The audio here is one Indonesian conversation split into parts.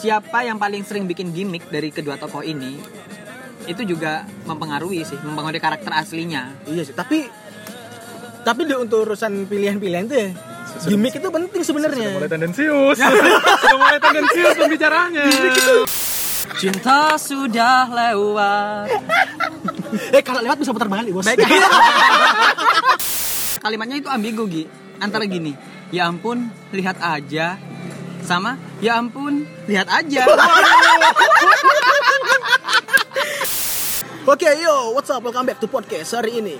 siapa yang paling sering bikin gimmick dari kedua tokoh ini itu juga mempengaruhi sih mempengaruhi karakter aslinya Iya sih, tapi tapi di- untuk urusan pilihan-pilihan tuh ya, gimmick itu penting sebenarnya. Sudah mulai tendensius. Sudah mulai tendensius pembicaraannya. cinta sudah lewat Eh kalau lewat bisa putar balik, Bos. Baik. kalimatnya itu ambigu Gi antara gini ya ampun lihat aja sama ya ampun lihat aja Oke, yo, what's up? Welcome back to podcast hari ini.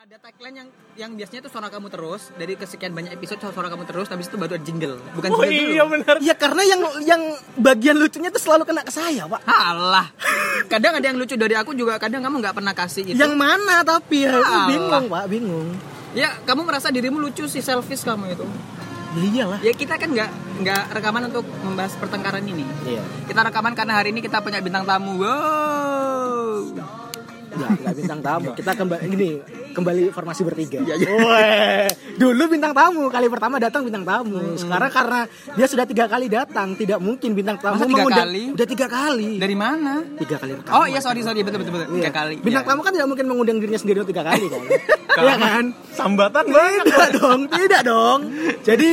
ada tagline yang yang biasanya tuh suara kamu terus dari kesekian banyak episode suara kamu terus habis itu baru ada jingle bukan Oh jingle iya dulu benar. Ya karena yang yang bagian lucunya tuh selalu kena ke saya, Pak. Alah, kadang ada yang lucu dari aku juga, kadang kamu nggak pernah kasih Ya, itu. Yang mana tapi ya, Allah. bingung, Pak, bingung. Ya, kamu merasa dirimu lucu sih, selfish kamu itu. Ya iyalah. Ya kita kan nggak nggak rekaman untuk membahas pertengkaran ini. Iya. Kita rekaman karena hari ini kita punya bintang tamu. Wow. Ya, nggak bintang tamu. Kita kembali gini, kembali formasi bertiga. Weh, Dulu bintang tamu, kali pertama datang bintang tamu. Sekarang karena dia sudah tiga kali datang, tidak mungkin bintang tamu Masa tiga mengundang- kali? Udah tiga kali. Dari mana? tiga kali rekaman. Oh iya, sorry sorry, betul betul betul. Iya. Tiga kali. Bintang Iya. tamu kan tidak mungkin mengundang dirinya sendiri untuk tiga kali kan. Iya Kalau kan? Sambatan banget. Tidak dong, tidak dong. Jadi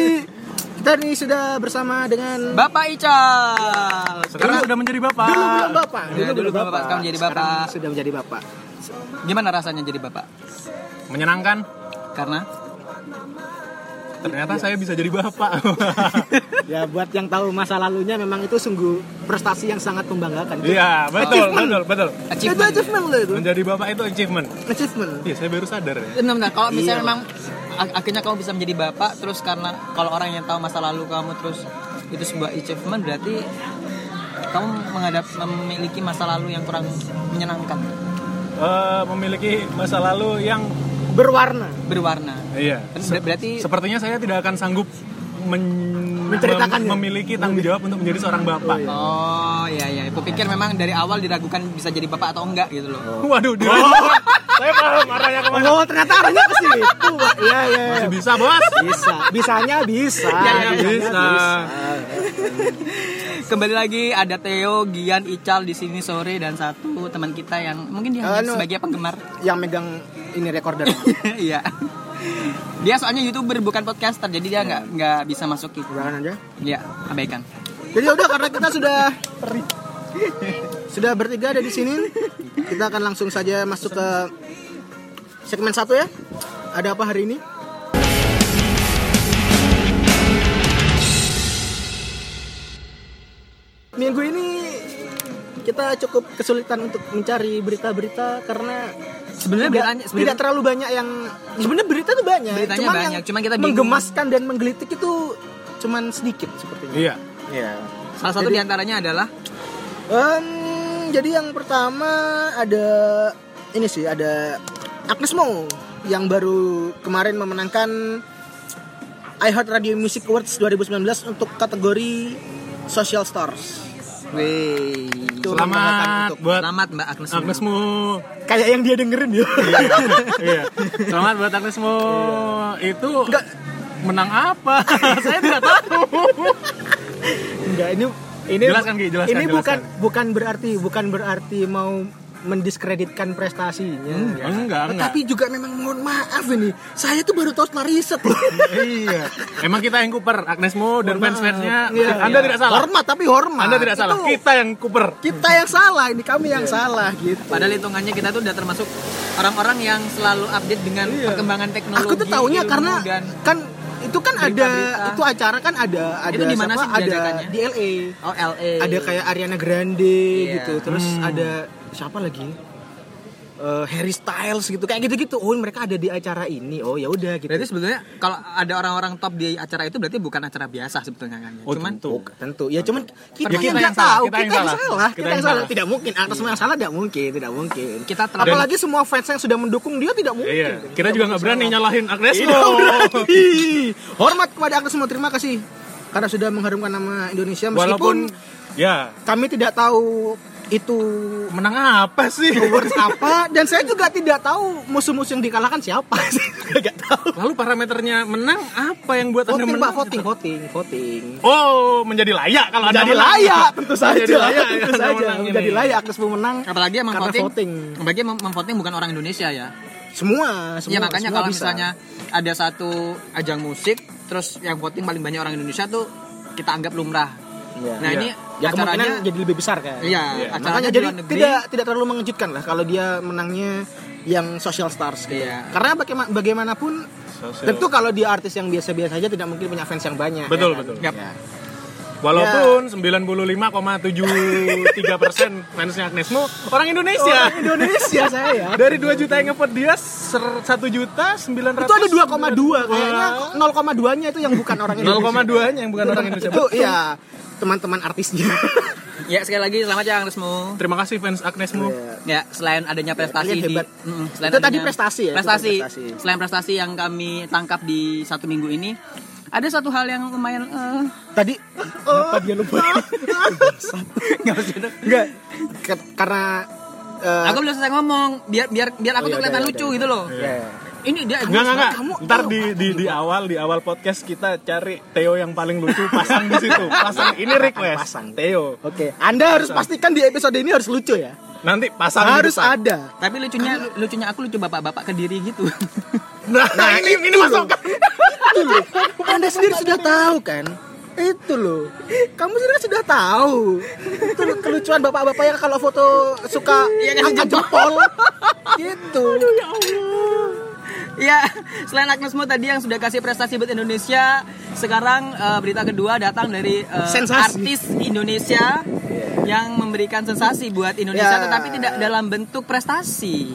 kita nih sudah bersama dengan Iya. Bapak Ical. Sekarang sudah menjadi bapak. dulu belum bapak, Ya, dulu belum bapak, sekarang menjadi bapak. Sekarang sudah menjadi bapak. Gimana rasanya jadi bapak? Menyenangkan. Karena Ternyata saya bisa jadi bapak. Ya buat yang tahu masa lalunya memang itu sungguh prestasi yang sangat membanggakan. Iya, betul, Achievement. betul, betul. Itu achievement. achievement loh itu. Menjadi bapak itu achievement. Achievement. Iya, saya baru sadar ya. Benar benar. Kalau misalnya Iya. memang ak- akhirnya kamu bisa menjadi bapak terus karena kalau orang yang tahu masa lalu kamu terus itu sebuah achievement berarti kamu menghadap memiliki masa lalu yang kurang menyenangkan, Eh, memiliki masa lalu yang Berwarna. berwarna. iya. Ber- berarti Sepertinya saya tidak akan sanggup men- Menceritakannya. mem- memiliki tanggung jawab untuk menjadi seorang bapak. Oh iya iya, aku pikir memang dari awal diragukan bisa jadi bapak atau enggak gitu loh. Waduh, dia. Oh, iya. saya paham arahnya kemana. Oh, ternyata arahnya ke situ, Pak. Iya, iya. Masih bisa, Bos. Bisa. Bisanya bisa. Iya, iya, Bisanya bisa. Kembali lagi ada Theo, Gian, Ical di sini sore dan satu teman kita yang mungkin dia hanya Anu. sebagai penggemar. Yang megang ini recorder. Iya. Dia soalnya youtuber bukan podcaster, jadi dia nggak nggak bisa masuk itu. Berwarna aja. Ya, abaikan. Jadi udah karena kita sudah sudah bertiga ada di sini, kita akan langsung saja masuk ke segmen satu ya. Ada apa hari ini? Minggu ini kita cukup kesulitan untuk mencari berita-berita karena Sebenarnya tidak, beritanya tidak sebenarnya terlalu banyak yang sebenarnya berita itu banyak, Beritanya cuman banyak, yang cuman kita bingung. menggemaskan dan menggelitik itu cuman sedikit sepertinya. Iya. Iya. salah satu Jadi- diantaranya adalah Em, jadi yang pertama ada ini sih ada Agnes Mo yang baru kemarin memenangkan iHeart Radio Music Awards 2019 untuk kategori Social Stars. Wih. Itu membanggakan Selamat untuk- buat Selamat Mbak Agnes. Agnesmu. Kayak yang dia dengerin ya. Iya. Selamat buat Agnesmu. Itu Iya. Enggak. Iya. menang apa? saya tidak tahu. Enggak, ini ini Jelaskan, Ki, jelaskan, ini bukan jelaskan. bukan berarti bukan berarti mau mendiskreditkan prestasinya. Hmm, Enggak, enggak. Tapi juga memang mohon maaf ini. Saya tuh baru tahu setelah riset loh. iya. Emang kita yang Cooper, Agnesmu dan fans-fansnya. Iya. Anda tidak salah. Hormat tapi hormat. Anda tidak salah. Itu- Kita yang Cooper. kita yang salah ini kami yang salah gitu Padahal hitungannya kita tuh udah termasuk orang-orang yang selalu update dengan Iya. perkembangan teknologi. aku tuh taunya ilmu, karena dan kan itu kan ada berita-berita. itu acara kan ada ada Itu di mana siapa, sih ada diadakannya? di LA Iya. oh, LA. ada kayak Ariana Grande Iya. gitu terus ada siapa lagi eh, Harry Styles gitu kayak gitu-gitu. Oh, mereka ada di acara ini. Oh, ya udah gitu. Berarti sebetulnya kalau ada orang-orang top di acara itu berarti bukan acara biasa sebetulnya kan. ya? Oh, Cuman Oh, tentu. tentu. Ya cuman kita, Ya, kita yang yang nggak salah, tahu, kita kita, yang yang salah. salah, Kita kita yang yang salah. salah. Tidak mungkin atas yang salah tidak mungkin, tidak mungkin. kita telah Apalagi semua fans yang sudah mendukung dia tidak mungkin. Iya, kita juga nggak berani nyalahin Agnesmo. Tidak berani. Hormat kepada Agnes semua terima kasih karena sudah mengharumkan nama Indonesia meskipun Walaupun ya kami tidak tahu itu menang apa sih? awards apa dan saya juga tidak tahu musuh-musuh yang dikalahkan siapa. Saya nggak tahu. Lalu parameternya menang apa yang buat Anda Voting, Pak, menang? voting, voting, voting. Oh, menjadi layak kalau Anda Jadi menang. layak tentu saja. Jadi layak, ya, tentu Anda saja. menang ini. Jadi layak Agnes mau menang. apalagi yang Karena memvoting, voting. apalagi yang mem- memvoting bukan orang Indonesia ya. Semua, semua Iya makanya semua kalau bisa. misalnya ada satu ajang musik terus yang voting paling banyak orang Indonesia tuh kita anggap lumrah. Iya. Nah Iya. ini ya kemungkinan acaranya jadi lebih besar iya, kan. Iya. acaranya Makanya di jadi luar negeri. tidak tidak terlalu mengejutkan lah kalau dia menangnya yang social stars gitu. Iya. Karena bagaima- bagaimanapun Sosial. tentu kalau dia artis yang biasa-biasa aja tidak mungkin punya fans yang banyak. ya Betul, kan? betul. Yap. Ya. Walaupun 95,73 persen fansnya Agnesmo orang Indonesia. Orang Indonesia saya. ya, Dari 2 juta yang nge-vote dia, ser- 1 juta 900. Itu ada 2,2 kayaknya 0,2-nya itu yang bukan orang Indonesia. 0,2-nya yang bukan orang Indonesia. Itu iya teman-teman artisnya. Ya sekali lagi selamat ya Agnesmu. Terima kasih fans Agnesmo. Ya Iya. selain adanya prestasi kalian di hebat. Mm, selain Itu tadi prestasi ya, itu Prestasi. kan prestasi. Selain prestasi yang kami tangkap di satu minggu ini ada satu hal yang lumayan eh, Tadi oh, dia lupa. nggak maksudnya. Enggak. Ke- Karena eh, Aku belum selesai ngomong biar biar biar aku tuh Oh, iya, kelihatan iya, lucu iya. gitu loh. ya, ya. Ini dia Enggak, enggak, enggak. Kamu- Ntar kamu- di, di, di awal, di awal podcast kita cari Theo yang paling lucu, pasang di situ. Pasang, ini request. Pasang. Theo. Oke, Anda harus pastikan di episode ini harus lucu ya. Nanti pasang di harus depan. ada. Tapi lucunya lucunya aku lucu bapak-bapak kediri gitu. Nah, ini, ini masukkan. Itu loh. Anda sendiri sudah tahu kan? Itu loh. Kamu sendiri sudah tahu. Itu loh, kelucuan bapak-bapak yang kalau foto suka angkat jempol. Gitu. Ya, selain Agnes Mo tadi yang sudah kasih prestasi buat Indonesia, sekarang eh, berita kedua datang dari eh, Sensasi. artis Indonesia yang memberikan sensasi buat Indonesia, Ya. tetapi tidak dalam bentuk prestasi.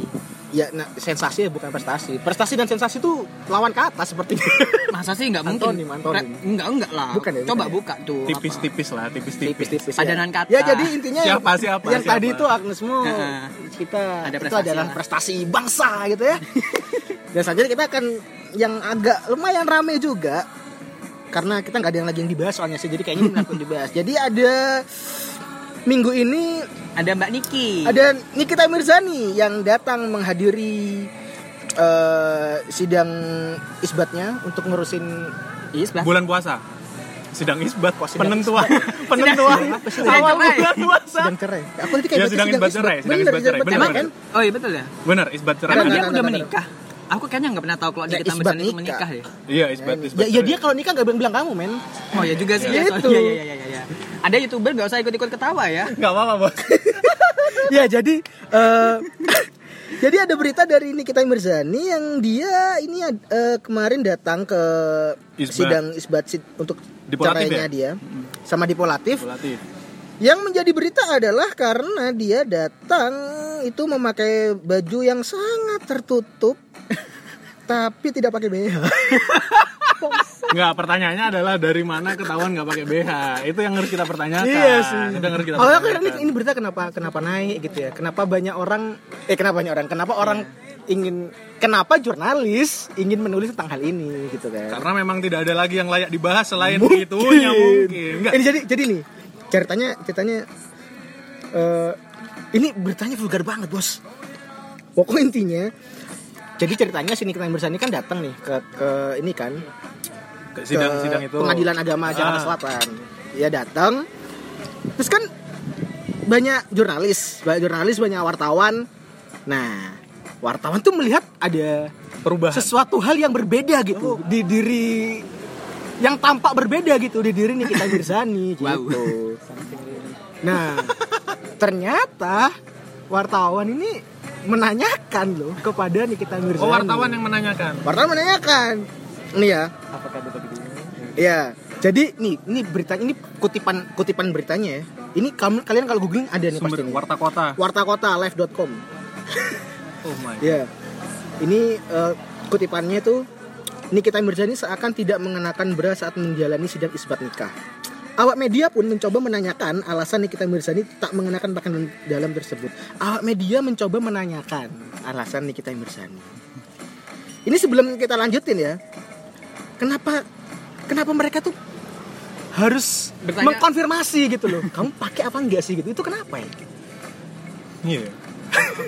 Ya, nah, sensasi ya bukan prestasi. Prestasi dan sensasi itu lawan kata sepertinya. Masa sih nggak mungkin? Antonim, antonim. Pre- Enggak, enggak lah. Bukan ya, bukan Coba ya. buka tuh. apa. Tipis-tipis lah, tipis-tipis. Padanan kata. Ya jadi intinya Siapa, yang- siapa, yang siapa? tadi itu Agnesmo Heeh. kita Ada itu prestasi adalah lah. prestasi bangsa gitu ya. Dan selanjutnya kita akan yang agak lumayan rame juga karena kita nggak ada yang lagi yang dibahas soalnya sih jadi kayaknya ini belum dibahas. Jadi ada minggu ini Ada Mbak Niki. ada Nikita Mirzani yang datang menghadiri eh, sidang isbatnya untuk ngurusin Is, bah. Bulan puasa. Sidang isbat, sidang penentuan, penentuan. Sidang Awal cerai. bulan puasa. sidang cerai. Aku tadi Ya, kayak baca sidang isbat cerai, sidang Bener, isbat sidang cerai, Emang bener. kan? Oh iya betul ya. Bener, isbat Iya, cerai. Emang Ada, dia ada, udah ada, ada. menikah. Aku kayaknya nggak pernah tahu kalau Ya, Nikita Isbat Mirzani itu nikah. menikah ya. Iya, isbat, isbat. Ya, ya cerai. dia kalau nikah gak bilang-bilang kamu men Oh ya juga sih. Ya, soalnya. itu. Iya, iya, iya, iya, iya. Ada youtuber nggak usah ikut-ikut ketawa ya. Nggak apa-apa, Bos. Ya jadi eh, Jadi ada berita dari Nikita Mirzani Yang dia ini eh, kemarin datang ke Isbat. sidang isbat sid- Untuk Dipolatif caranya ya? dia Sama dipolatif Relatif. Yang menjadi berita adalah karena dia datang Itu memakai baju yang sangat tertutup Tapi tidak pakai BH Nggak, pertanyaannya adalah dari mana ketahuan nggak pakai BH? Itu yang harus kita pertanyakan. Itu yang harus kita Iya Awalnya aku pertanyakan. heran, Oh, ini berita kenapa kenapa naik gitu ya. Kenapa banyak orang eh kenapa banyak orang? Kenapa orang ingin kenapa jurnalis ingin menulis tentang hal ini gitu kan. Karena memang tidak ada lagi yang layak dibahas selain itunya mungkin. Enggak. Ini jadi jadi nih ceritanya ceritanya eh, ini beritanya vulgar banget, Bos. Pokok intinya jadi ceritanya sini kita Mirzani kan datang nih ke ke ini kan ke sidang sidang itu pengadilan agama Jakarta Ah. Selatan ya datang terus kan banyak jurnalis banyak jurnalis banyak wartawan nah wartawan tuh melihat ada perubahan. sesuatu hal yang berbeda gitu di diri yang tampak berbeda gitu di diri Nikita Mirzani gitu Wow. nah ternyata wartawan ini menanyakan loh kepada Nikita Mirzani oh, wartawan yang menanyakan. wartawan menanyakan nih ya Apakah ada Iya. Jadi nih, ini berita ini kutipan kutipan beritanya ya. Ini kamu kalian kalau googling ada nih Sumber pasti nih. warta kota. Warta Kota live.com. Oh my. Ya, ini eh, kutipannya itu Nikita Mirzani seakan tidak mengenakan bra saat menjalani sidang isbat nikah. Awak media pun mencoba menanyakan alasan Nikita Mirzani tak mengenakan pakaian dalam tersebut. Awak media mencoba menanyakan alasan Nikita Mirzani. Ini sebelum kita lanjutin ya, kenapa kenapa mereka tuh harus Bertanya. mengkonfirmasi gitu loh. Kamu pakai apa enggak sih gitu? Itu kenapa ya? Iya.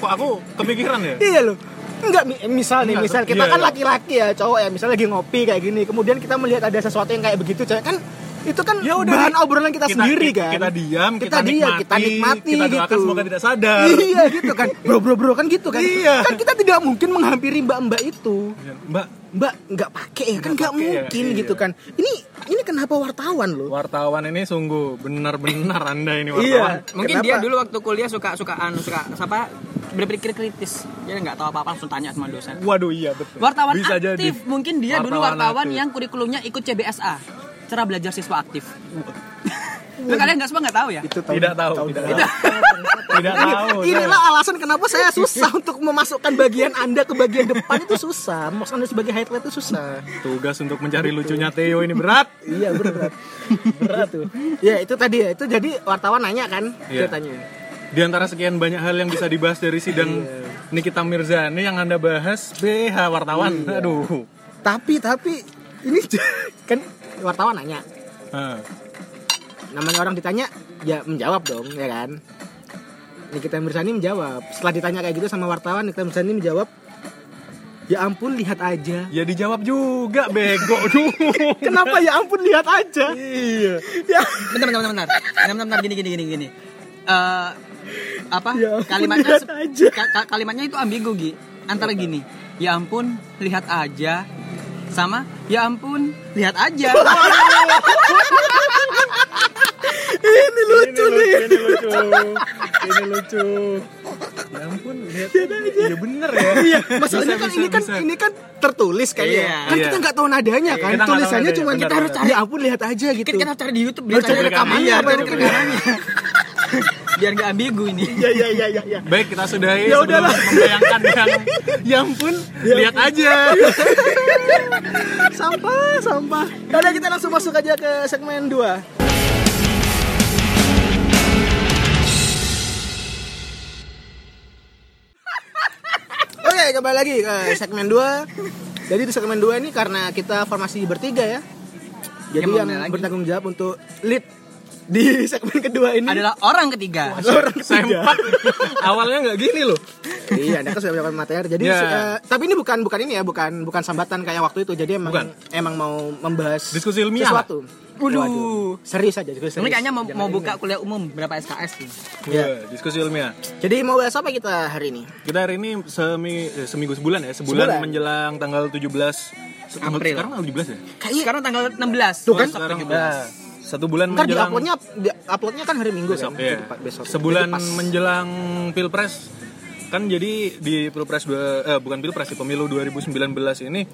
Kok aku kepikiran ya? Iya loh. Enggak mi- misal nih, Enggak, misal kita iya, kan iya. laki-laki ya, cowok ya, misal lagi ngopi kayak gini, kemudian kita melihat ada sesuatu yang kayak begitu, cewek kan itu kan Ya udah, bahan nih, obrolan kita, sendiri kita, kan. Kita diam, kita, Kita diam, nikmati, kita nikmati kita doakan gitu. semoga tidak sadar. Iya gitu kan. Bro bro bro kan gitu kan. Iya. Kan kita tidak mungkin menghampiri mbak-mbak itu. Mbak, Mbak nggak pakai ya kan Nggak nggak pakai ya, mungkin iya. gitu kan. Ini ini kenapa wartawan loh? wartawan ini sungguh benar-benar Anda ini wartawan. Mungkin Kenapa? dia dulu waktu kuliah suka suka anu suka apa berpikir kritis. Dia nggak tahu apa-apa langsung tanya sama dosen. Waduh iya betul. Wartawan Bisa aktif. jadi. Mungkin dia dulu Wartawan wartawan aktif. yang kurikulumnya ikut CBSA. Cara belajar siswa aktif. Lu kalian nggak semua nggak tahu ya? Itu tahun- Tidak tahu, tahun tidak berapa? tahu. Tidak tahu. Inilah alasan kenapa saya susah untuk memasukkan bagian Anda ke bagian depan itu susah. Maksud Anda sebagai highlight itu susah. saya. Tugas untuk mencari lucunya Theo ini berat. Iya berat berat tuh. Ya itu tadi ya itu jadi wartawan nanya kan Iya. dia tanya. Di antara sekian banyak hal yang bisa dibahas dari sidang Iya. Nikita Mirzani yang Anda bahas BH wartawan. Iya. Aduh. Tapi tapi ini kan wartawan nanya Ah. namanya orang ditanya ya menjawab dong ya kan. Nikita Mirzani menjawab setelah ditanya kayak gitu sama wartawan Nikita Mirzani menjawab ya ampun lihat aja. Ya dijawab juga bego. Aduh. Kenapa ya ampun lihat aja? Iya. Ya. Bentar, bentar, bentar, bentar. Bentar, bentar, bentar. gini, gini, gini, gini. Eh, apa Ya ampun, kalimatnya lihat aja. ka- ka- kalimatnya itu ambigu Gi. antara gini ya ampun lihat aja sama ya ampun lihat aja Ini lucu ini nih. lucu, ini lucu. Ini lucu. Ya ampun, lihat. Iya bener ya. Iya, masalahnya Bisa, kan bisa, ini kan bisa. ini kan tertulis kan ya. Iya. Kan Iya. kita nggak tahu nadanya kan. Kita nggak tahu Tulisannya nadanya, cuma kita benar, harus benar. cari ampun lihat aja gitu. kita, kita harus cari di YouTube Lu biar Oh, cari cari rekamannya rekamannya, cari cari rekamannya biar nggak ambigu ini Ya ya ya ya ya. Baik, kita sudahi Ya sebelum udahlah. membayangkan yang ya ampun, Iya. lihat aja. sampah sampah Yaudah kita langsung masuk aja ke segmen 2 Oke kembali lagi ke segmen 2 Jadi di segmen 2 ini karena kita formasi bertiga ya Jadi Ya, mau yang gimana lagi? bertanggung jawab untuk lead di segmen kedua ini adalah orang ketiga Orang Sempak. Awalnya nggak gini loh. iya, Anda kan sudah mendapatkan materi. Jadi Ya. eh, tapi ini bukan bukan ini ya, bukan bukan sambatan kayak waktu itu. Jadi emang Bukan. emang mau membahas Diskusi ilmiah, sesuatu. Waduh. serius aja diskusi. ini serius. kayaknya mau, Jangan mau ini. buka kuliah umum berapa SKS nih Iya. Wah, diskusi ilmiah. Jadi mau bahas apa kita hari ini? Kita hari ini semi, eh, seminggu sebulan ya, sebulan, Sebulan. menjelang tanggal 17 tanggal- April. Sekarang tanggal 17 ya? Kayaknya sekarang tanggal 16 Tuh kan? besok Sekarang 17. ah, satu bulan ntar di menjelang uploadnya di- uploadnya kan hari Minggu besok, kan? iya. Jadi pa- Besok. Sebulan Jadi pas. menjelang Pilpres kan jadi di Pilpres dua, eh, bukan Pilpres sih, pemilu 2019 ini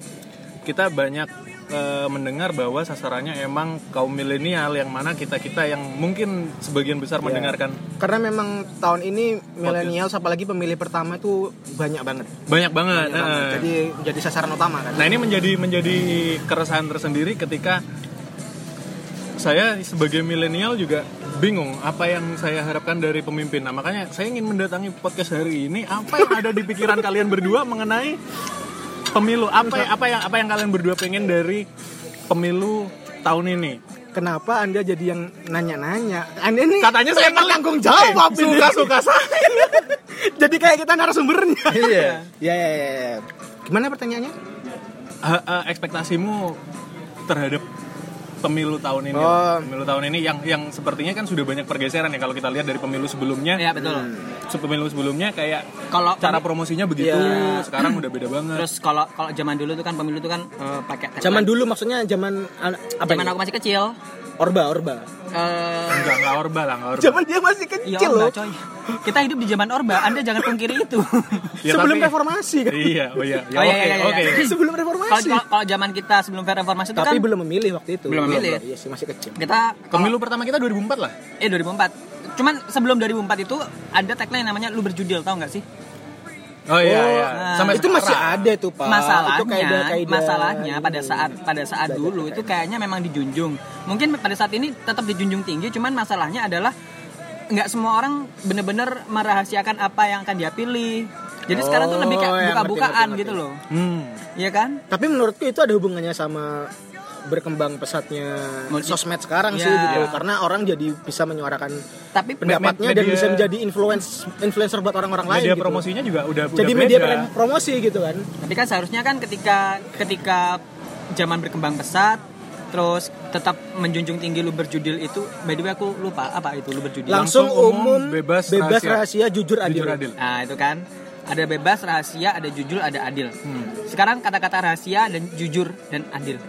kita banyak eh, mendengar bahwa sasarannya emang kaum milenial yang mana kita-kita yang mungkin sebagian Iya. besar mendengarkan karena memang tahun ini milenial apalagi pemilih pertama itu banyak banget. banyak banget. Banyak banget. eh. Jadi jadi sasaran utama kan. Nah ini menjadi menjadi keresahan tersendiri ketika saya sebagai milenial juga bingung apa yang saya harapkan dari pemimpin. Nah makanya saya ingin mendatangi podcast hari ini apa yang ada di pikiran kalian berdua mengenai pemilu apa apa yang apa yang kalian berdua pengen dari pemilu tahun ini. Kenapa Anda jadi yang nanya-nanya? Anda ini Katanya saya pengen paling- tanggung jawab ini. suka suka saya. Jadi kayak kita narasumbernya. Iya. Ya, ya, ya, ya. Gimana pertanyaannya? Ha- ha, ekspektasimu terhadap pemilu tahun ini Oh. pemilu tahun ini yang yang sepertinya kan sudah banyak pergeseran ya kalau kita lihat dari pemilu sebelumnya Iya, betul. Se- pemilu sebelumnya kayak kalau cara promosinya begitu Iya. sekarang udah beda banget terus kalau kalau zaman dulu tuh kan pemilu tuh kan eh, pakai tagline. Zaman dulu maksudnya zaman an- apa? zaman ini? aku masih kecil Orba, orba. eh, enggak enggak orba lah enggak orba Ya, Zaman dia masih Iya kecil Orba loh. coy. Kita hidup di zaman Orba, Anda jangan pungkiri itu. Ya, Sebelum tapi- reformasi kan. iya oh iya ya Oh, iya, oke iya, iya, oke iya. Sebelum Kalau reformasi. kalau- kalau zaman kita sebelum reformasi itu Tapi kan belum memilih waktu itu. Belum memilih. Iya sih masih kecil. kita pemilu pertama kita 2004 lah eh 2004. Cuman sebelum 2004 itu ada tagline namanya lu berjudil, tahu nggak sih? Oh iya, iya. nah, Sampai itu masih sekarang. ada tuh pak. masalahnya itu kaidah-kaidah. masalahnya pada saat pada saat dulu itu gitu. kayaknya memang dijunjung mungkin pada saat ini tetap dijunjung tinggi cuman masalahnya adalah nggak semua orang bener-bener merahasiakan apa yang akan dia pilih jadi sekarang tuh lebih Oh, ya, kayak ngerti, buka-bukaan ngerti, gitu loh Hmm. Iya kan Tapi menurutku itu ada hubungannya sama berkembang pesatnya Multi- sosmed sekarang Ya. sih gitu karena orang jadi bisa menyuarakan tapi pendapatnya Media- dan bisa menjadi influence influencer buat orang-orang lain Media gitu. promosinya juga udah Jadi udah media beda. pre- promosi gitu kan. tapi kan seharusnya kan ketika ketika zaman berkembang pesat terus tetap menjunjung tinggi lu berjudil itu by the way aku lupa apa itu lu berjudil Langsung, Langsung umum, umum, bebas, bebas rahasia, rahasia, jujur adil. Jujur adil. Nah itu kan ada bebas, rahasia, ada jujur, ada adil. Hmm. Sekarang kata-kata rahasia dan jujur dan adil.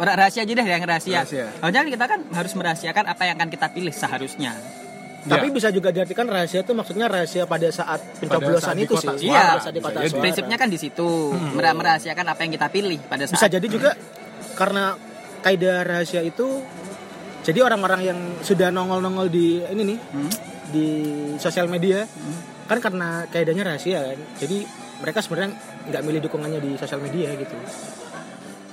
Orang rahasia aja deh yang rahasia. Rahasia. Harusnya kan kita kan harus merahasiakan apa yang akan kita pilih seharusnya. Tapi Ya. bisa juga diartikan rahasia itu maksudnya rahasia pada saat pencoblosan saat di itu kotak sih. suara, Pada saat di bisa kotak jadi. suara. Prinsipnya kan di situ Merah- merahasiakan apa yang kita pilih pada Hmm. bisa saat. jadi juga karena kaidah rahasia itu jadi orang-orang yang sudah nongol-nongol di ini nih Hmm. di sosial media kan karena kaidahnya rahasia kan jadi mereka sebenarnya nggak milih dukungannya di sosial media gitu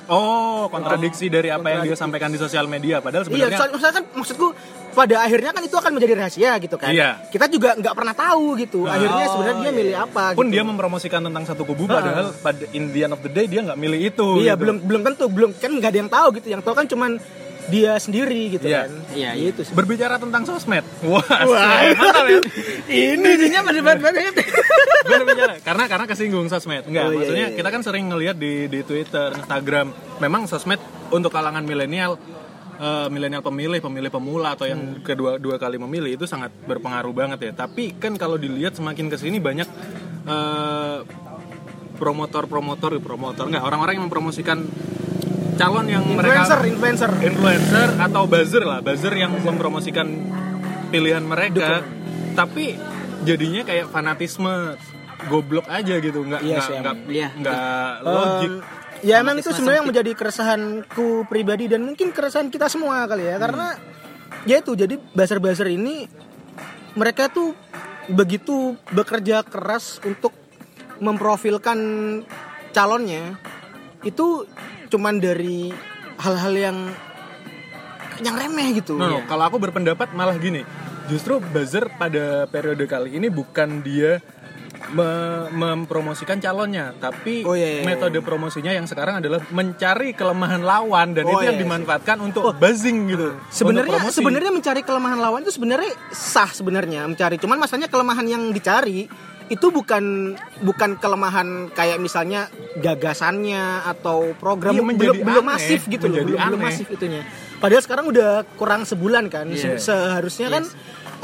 Oh, kontradiksi dari apa yang dia sampaikan di sosial media padahal iya sebenarnya soal- maksudnya kan maksudku pada akhirnya kan itu akan menjadi rahasia gitu kan Iya. Ah. kita juga nggak pernah tahu gitu akhirnya Oh, sebenarnya dia iya, milih apa pun gitu. dia mempromosikan tentang satu kubu Nah. padahal pada in the end of the day dia nggak milih itu. Iya gitu. belum belum tentu belum kan nggak ada yang tahu gitu yang tahu kan cuman dia sendiri gitu Iya. kan Iya, iya. itu sih Berbicara tentang sosmed. Wah, Wah, asik. Mantap ya. ini jadinya berdebat banget. Berbicara karena karena kesinggung sosmed. Oh, Enggak, iya, maksudnya iya, kita kan sering ngelihat di di Twitter, Instagram. Memang sosmed untuk kalangan milenial eh, milenial pemilih, pemilih pemula atau yang Hmm. kedua dua kali memilih itu sangat berpengaruh banget ya. Tapi kan kalau dilihat semakin kesini banyak eh, promotor-promotor, promotor enggak orang-orang yang mempromosikan calon yang mereka Influencer, ya? influencer. influencer atau buzzer lah buzzer yang mempromosikan pilihan mereka tapi jadinya kayak fanatisme goblok aja gitu nggak Iya nggak sih, nggak Iya. nggak logik Um, ya emang itu sebenarnya yang menjadi keresahanku pribadi dan mungkin keresahan kita semua kali ya karena ya itu jadi buzzer-buzzer ini mereka tuh begitu bekerja keras untuk memprofilkan calonnya itu cuman dari hal-hal yang yang remeh gitu. No, no, kalau aku berpendapat malah gini justru buzzer pada periode kali ini bukan dia me- mempromosikan calonnya tapi Oh, iya, iya, iya. metode promosinya yang sekarang adalah mencari kelemahan lawan dan Oh, itu yang iya, dimanfaatkan untuk buzzing gitu untuk sebenarnya promosi. sebenarnya mencari kelemahan lawan itu sebenarnya sah sebenarnya mencari cuman masalahnya kelemahan yang dicari itu bukan bukan kelemahan kayak misalnya gagasannya atau program Iya, menjadi belum belum aneh, masif gitu loh menjadi belum, belum aneh. masif itunya padahal sekarang udah kurang sebulan kan Se- Iya. seharusnya kan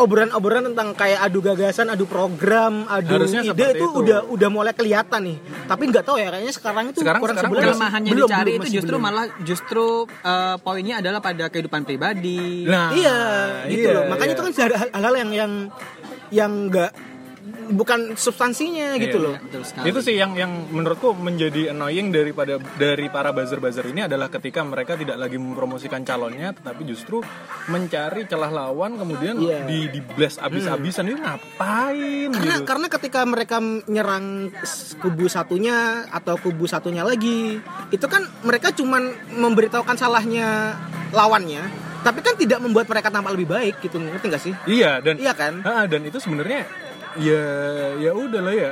obrolan-obrolan tentang kayak adu gagasan adu program adu Harusnya ide seperti itu, itu. udah udah mulai kelihatan nih tapi nggak tahu ya kayaknya sekarang itu Sekarang- kurang sekarang sebulan masih- Kelemahannya belum, dicari belum, itu masih justru belum. malah justru eh, poinnya adalah pada kehidupan pribadi. Nah, iya gitu iya, loh makanya iya. itu kan ada hal-hal yang yang yang enggak bukan substansinya gitu Iya. loh Betul sekali. Itu sih yang yang menurutku menjadi annoying daripada dari para buzzer-buzzer ini adalah ketika mereka tidak lagi mempromosikan calonnya tetapi justru mencari celah lawan kemudian Iya. di di blast abis-abisan itu ngapain karena gitu. karena ketika mereka menyerang s- kubu satunya atau kubu satunya lagi itu kan mereka cuman memberitahukan salahnya lawannya tapi kan tidak membuat mereka tampak lebih baik gitu ngerti nggak sih Iya dan iya kan Ah, dan itu sebenarnya ya ya udahlah ya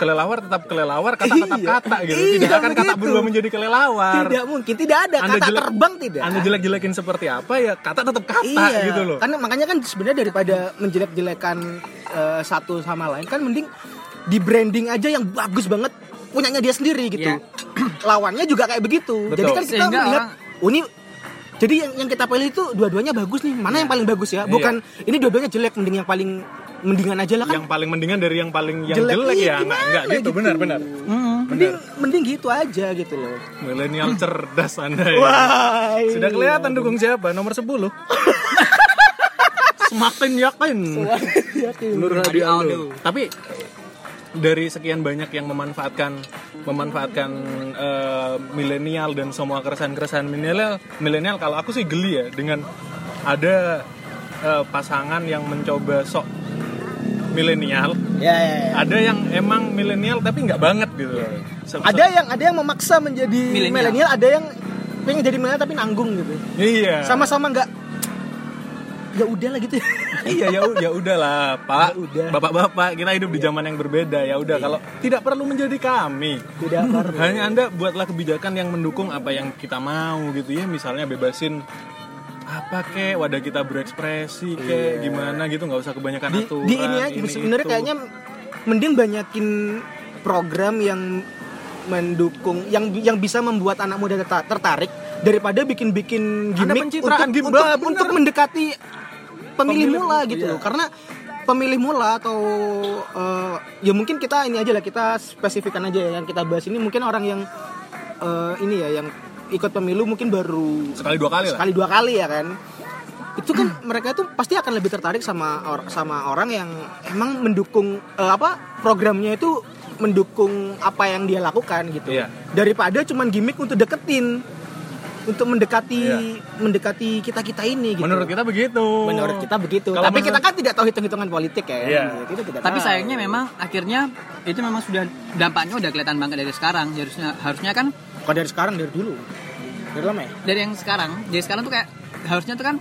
kelelawar tetap kelelawar kata-kata Iya. kata gitu. Iya, Tidak akan kata begitu. berubah menjadi kelelawar. tidak mungkin tidak ada Anda kata jelek- terbang tidak Anda jelek-jelekin seperti apa ya kata tetap kata iya, gitu loh. Karena makanya kan sebenarnya daripada menjelek-jelekan eh, satu sama lain kan mending di branding aja yang bagus banget punyanya dia sendiri gitu. Iya. Lawannya juga kayak begitu. Betul. Jadi kan kita Sehingga melihat orang- oh, ini jadi yang, yang kita pilih itu dua-duanya bagus nih. Iya. Mana yang paling bagus ya? Bukan ini dua-duanya jelek mending yang paling mendingan aja lah kan. Yang paling mendingan dari yang paling yang Jelek, jelek, iya, ya. Enggak, gimana enggak gitu, gitu. benar-benar. mending mending gitu aja gitu loh. Milenial cerdas Anda ya. Wah. Sudah kelihatan dukung siapa? Nomor 10. Semakin yakin. Iya, Nur Hadi Aldo. Tapi dari sekian banyak yang memanfaatkan memanfaatkan eh, milenial dan semua keresahan-keresahan milenial, milenial kalau aku sih geli ya dengan ada eh, pasangan yang mencoba sok milenial, Ya, ya, ya. ada yang emang milenial tapi nggak banget gitu. Se- Ada yang ada yang memaksa menjadi Milenial. milenial, ada yang pengen jadi milenial tapi nanggung gitu. Iya. Sama-sama nggak ya udah lah gitu. iya ya u- ya udahlah Pak. Ya udah. Iya. Bapak-bapak kita hidup di zaman yang berbeda ya udah kalau tidak perlu menjadi kami. Tidak perlu. Hanya Anda buatlah kebijakan yang mendukung apa yang kita mau gitu ya misalnya bebasin apa kek wadah kita berekspresi kek gimana gitu nggak usah kebanyakan Iya. di, aturan. di ini aja sebenarnya itu. kayaknya mending banyakin program yang mendukung yang yang bisa membuat anak muda terta- tertarik daripada bikin-bikin Ada gimmick untuk, pencitraan gimmick, untuk- bener. untuk mendekati pemilih, Pemilih, mula gitu iya. loh karena pemilih mula atau eh, ya mungkin kita ini aja lah kita spesifikkan aja ya, yang kita bahas ini mungkin orang yang eh, ini ya yang ikut pemilu mungkin baru sekali dua kali lah. sekali dua kali ya kan itu kan mereka tuh pasti akan lebih tertarik sama or- sama orang yang emang mendukung eh, apa programnya itu mendukung apa yang dia lakukan gitu Iya. daripada cuman gimmick untuk deketin untuk mendekati Iya. mendekati kita kita ini gitu Menurut kita begitu. menurut kita begitu Kalau tapi kita menurut- kan tidak tahu hitung hitungan politik ya Iya. kita tidak Tapi tahu. sayangnya memang akhirnya itu memang sudah dampaknya udah kelihatan banget dari sekarang. Harusnya harusnya kan kalau dari sekarang dari dulu dari lama ya dari yang sekarang dari sekarang tuh kayak harusnya tuh kan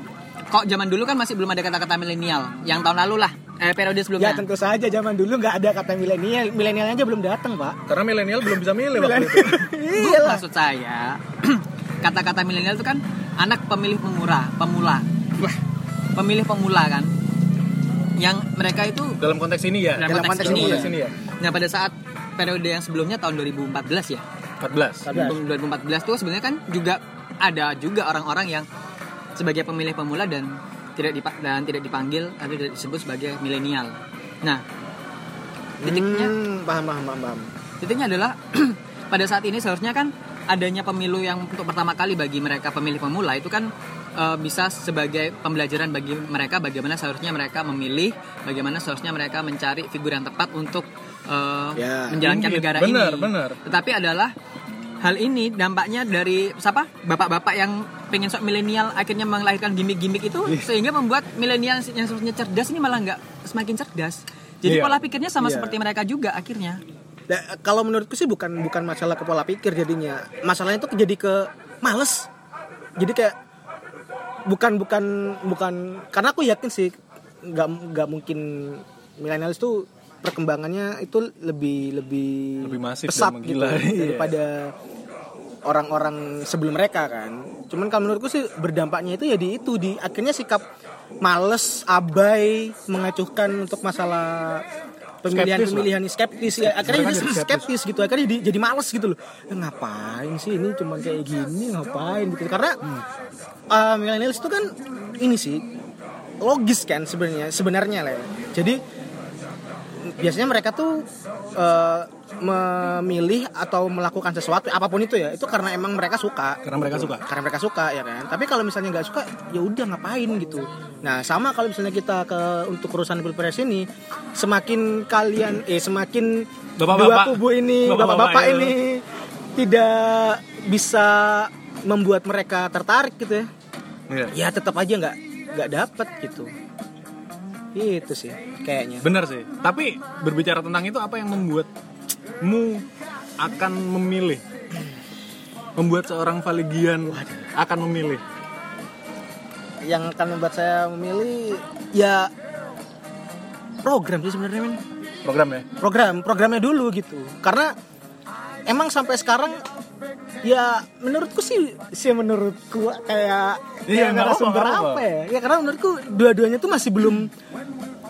kok zaman dulu kan masih belum ada kata-kata milenial yang tahun lalu lah eh, periode ya sebelumnya tentu saja zaman dulu nggak ada kata milenial milenialnya aja belum datang pak Karena milenial belum bisa milih Iya, waktu itu. Bu, Iya lah. maksud saya kata-kata milenial itu kan anak pemilih pemula pemula pemilih pemula kan yang mereka itu Dalam konteks ini ya. Dalam konteks ini konteks ya. ini ya. nah pada saat periode yang sebelumnya tahun 2014 ya 14. Sadar. 2014 tuh sebenarnya kan juga ada juga orang-orang yang sebagai pemilih pemula dan tidak dipa- dan tidak dipanggil atau tidak disebut sebagai milenial. Nah, titiknya Hmm, paham paham paham paham titiknya adalah pada saat ini seharusnya kan adanya pemilu yang untuk pertama kali bagi mereka pemilih pemula itu kan eh, bisa sebagai pembelajaran bagi mereka bagaimana seharusnya mereka memilih, bagaimana seharusnya mereka mencari figur yang tepat untuk eh, Ya. menjalankan Mungkin. negara Iya, Benar, ini. benar. Tetapi adalah hal ini dampaknya dari siapa? Bapak-bapak yang pengen sok milenial akhirnya melahirkan gimmick-gimmick itu Iya. sehingga membuat milenial yang seharusnya cerdas ini malah nggak semakin cerdas. Jadi Iya. pola pikirnya sama Iya. seperti mereka juga akhirnya. Nah, kalau menurutku sih bukan bukan masalah ke pola pikir jadinya. Masalahnya itu jadi ke males. Jadi kayak bukan bukan bukan karena aku yakin sih nggak nggak mungkin millennials tuh perkembangannya itu lebih lebih, Lebih masif pesat dan gitu menggila. Iya. daripada orang-orang sebelum mereka kan. Cuman kalau menurutku sih berdampaknya itu ya di itu di akhirnya sikap males, abai, mengacuhkan untuk masalah Skeptis lah. pemilihan-pemilihan skeptis, ya. akhirnya Mereka jadi jadi skeptis. gitu akhirnya jadi, jadi males gitu loh Ya, ngapain sih ini cuman kayak gini ngapain gitu karena eh, millennials itu kan ini sih logis kan sebenarnya sebenarnya lah ya. jadi biasanya mereka tuh eh, memilih atau melakukan sesuatu apapun itu ya itu karena emang mereka suka Karena mereka suka. karena mereka suka ya kan tapi kalau misalnya nggak suka ya udah ngapain gitu nah sama kalau misalnya kita ke untuk urusan pilpres ini semakin kalian eh semakin Bapak-bapak. dua kubu ini Bapak-bapak bapak-bapak itu. ini tidak bisa membuat mereka tertarik gitu ya Iya. ya tetap aja nggak nggak dapat gitu itu sih kayaknya Benar sih. Tapi berbicara tentang itu apa yang membuatmu akan memilih? Membuat seorang Valigian akan memilih. yang akan membuat saya memilih ya program sih sebenarnya men Program ya. program programnya dulu gitu karena emang sampai sekarang ya menurutku sih sih menurutku kayak kayak Iya, nggak narasumber apa-apa, apa, nggak ya ya karena menurutku dua-duanya tuh masih belum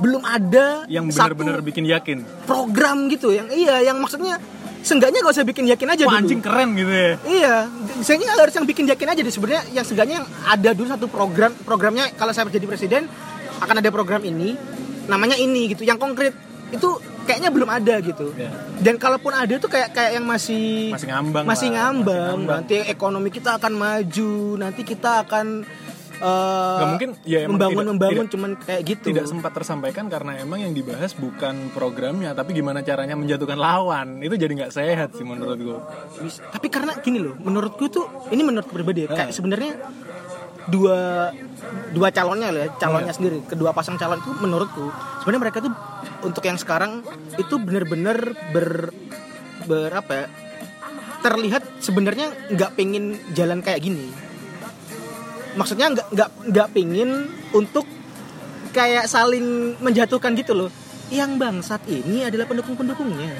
belum ada Yang satu benar-benar bikin yakin. program gitu yang iya yang maksudnya seenggaknya gak usah bikin yakin aja dulu. Wah, anjing keren gitu ya. Iya, misalnya harus yang bikin yakin aja deh sebenarnya yang seenggaknya yang ada dulu satu program programnya kalau saya menjadi presiden akan ada program ini namanya ini gitu yang konkret itu kayaknya belum ada gitu. Iya. Dan kalaupun ada tuh kayak kayak yang masih Masih ngambang Masih lah, ngambang. masih ngambang. Nanti ekonomi kita akan maju, nanti kita akan eh, Nggak mungkin, ya emang membangun tidak- membangun tidak- cuman kayak gitu. Tidak sempat tersampaikan karena emang yang dibahas bukan programnya, tapi gimana caranya menjatuhkan lawan. Itu jadi nggak sehat sih menurut gua. Tapi karena gini loh, menurutku tuh ini menurut pribadi ya, kayak sebenarnya dua dua calonnya lah ya, calonnya sendiri kedua pasang calon itu menurutku sebenarnya mereka tuh untuk yang sekarang itu bener-bener ber berapa ya, terlihat sebenarnya nggak pengen jalan kayak gini maksudnya nggak nggak nggak pengen untuk kayak saling menjatuhkan gitu loh yang bangsat ini adalah pendukung pendukungnya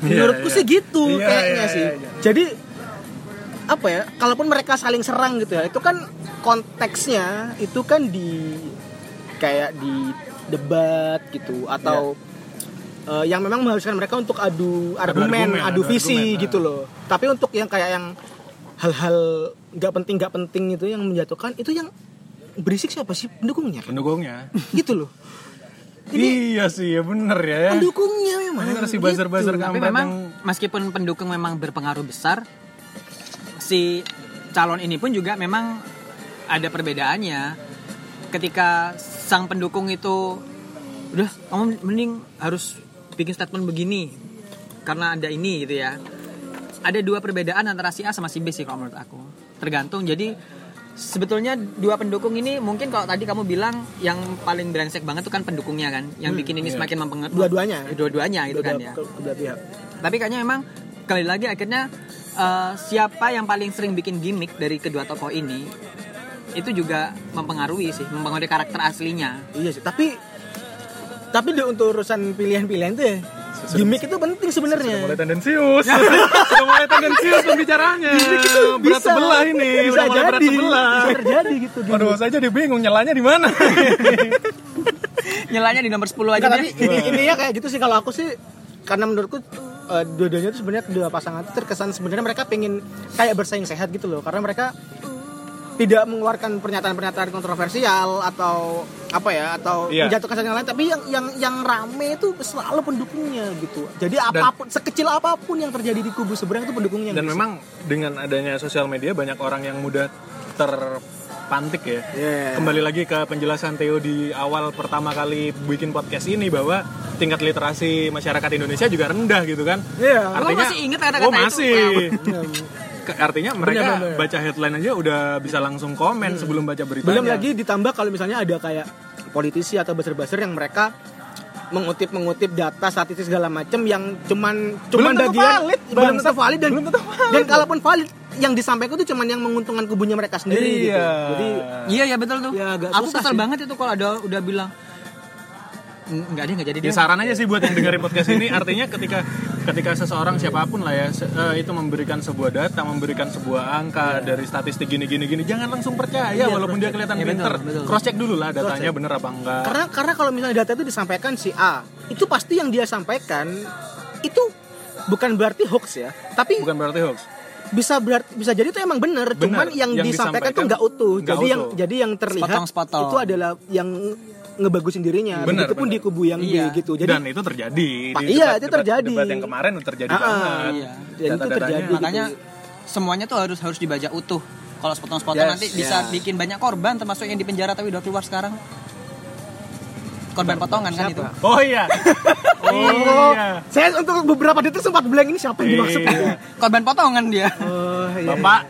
menurutku Iya, sih iya. gitu Iya, kayaknya iya, sih iya, iya. jadi apa ya kalaupun mereka saling serang gitu ya itu kan konteksnya itu kan di kayak di debat gitu atau eh, yang memang mengharuskan mereka untuk adu argumen, Iya. argumen, adu adu visi argumen, gitu ah. loh. Tapi untuk yang kayak yang hal-hal nggak penting nggak penting itu yang menjatuhkan itu yang berisik siapa sih pendukungnya kan? pendukungnya gitu loh. Jadi iya sih ya bener ya pendukungnya memang. bener sih gitu. buzzer-buzzer kan? Tapi kampret memang yang meskipun pendukung memang berpengaruh besar, si calon ini pun juga memang ada perbedaannya. Ketika sang pendukung itu udah kamu mending harus bikin statement begini karena ada ini gitu ya. Ada dua perbedaan antara si A sama si B sih kalau menurut aku. Tergantung. Jadi sebetulnya dua pendukung ini mungkin kalau tadi kamu bilang yang paling brengsek banget tuh kan pendukungnya kan, yang bikin ini iya. semakin mempengaruhi Dua-duanya. Dua-duanya gitu kan ya Kedua- kedua pihak. tapi kayaknya memang kali lagi akhirnya eh, siapa yang paling sering bikin gimmick dari kedua tokoh ini itu juga mempengaruhi sih mempengaruhi karakter aslinya Iya sih, tapi tapi deh untuk urusan pilihan-pilihan tuh ya, gimmick itu penting sebenarnya. Sudah mulai tendensius Sudah mulai tendensius pembicaraannya Berat sebelah ini bisa Udah mulai berat jadi, sebelah bisa terjadi gitu. gimmick. Waduh saya jadi bingung nyelanya di mana nyelanya di nomor 10 aja Enggak, deh tapi ini ininya kayak gitu sih kalau aku sih karena menurutku eh, dua-duanya tuh sebenarnya dua pasangan itu terkesan sebenarnya mereka pengen kayak bersaing sehat gitu loh karena mereka tidak mengeluarkan pernyataan-pernyataan kontroversial atau apa ya atau Iya. menjatuhkan satu yang lain tapi yang yang yang rame itu selalu pendukungnya gitu jadi apapun sekecil apapun yang terjadi di kubu seberang itu pendukungnya Dan gitu. memang dengan adanya sosial media banyak orang yang mudah terpantik ya. Iya. Kembali lagi ke penjelasan Theo di awal pertama kali bikin podcast ini bahwa tingkat literasi masyarakat Indonesia juga rendah gitu kan. Iya. Lo masih ingat kata-kata oh, itu? masih. Ke- Artinya mereka Bener, bener. baca headline aja udah bisa langsung komen sebelum baca beritanya. Belum lagi ditambah kalau misalnya ada kayak politisi atau buzzer-buzzer yang mereka mengutip mengutip data statistik segala macam yang cuman cuman tentu bagian valid, belum bangsat. tentu valid dan Belum tentu valid. dan kalaupun valid yang disampaikan itu cuman yang menguntungkan kubunya mereka sendiri gitu. Iya. Jadi iya ya betul tuh Ya, agak aku susah kesel sih. banget itu kalau ada udah bilang nggak deh nggak jadi Ya deh saran aja sih buat yang dengerin podcast ini artinya ketika ketika seseorang siapapun lah ya se- eh, itu memberikan sebuah data, memberikan sebuah Iya. angka dari statistik gini gini gini jangan langsung percaya Ya, walaupun dia kelihatan Iya, pinter. betul, betul. Cross check dulu lah datanya bener apa enggak. karena karena kalau misalnya data itu disampaikan si A itu pasti yang dia sampaikan itu bukan berarti hoax ya tapi Bukan berarti hoax. bisa berat, bisa jadi itu emang bener, Bener, cuman yang, yang disampaikan disampaikan tuh nggak utuh nggak jadi yang utuh. jadi yang terlihat Sepotong-sepotong. itu adalah yang ngebagusin dirinya Bener, begitupun bener. di kubu yang Iya. B gitu jadi Dan itu terjadi. Pa- iya, Di debat- itu debat- terjadi. Debat yang kemarin itu terjadi Ah, ah, banget. iya. Dan itu Data-datanya. terjadi. gitu. makanya semuanya tuh harus harus dibaca utuh kalau sepotong-sepotong Yes, nanti bisa ya. bikin banyak korban termasuk yang di penjara tapi udah keluar sekarang korban potongan kan itu Oh iya. Oh, iya. saya untuk beberapa detik sempat bilang ini siapa yang dimaksud Iya. korban potongan dia Oh, iya. Bapak.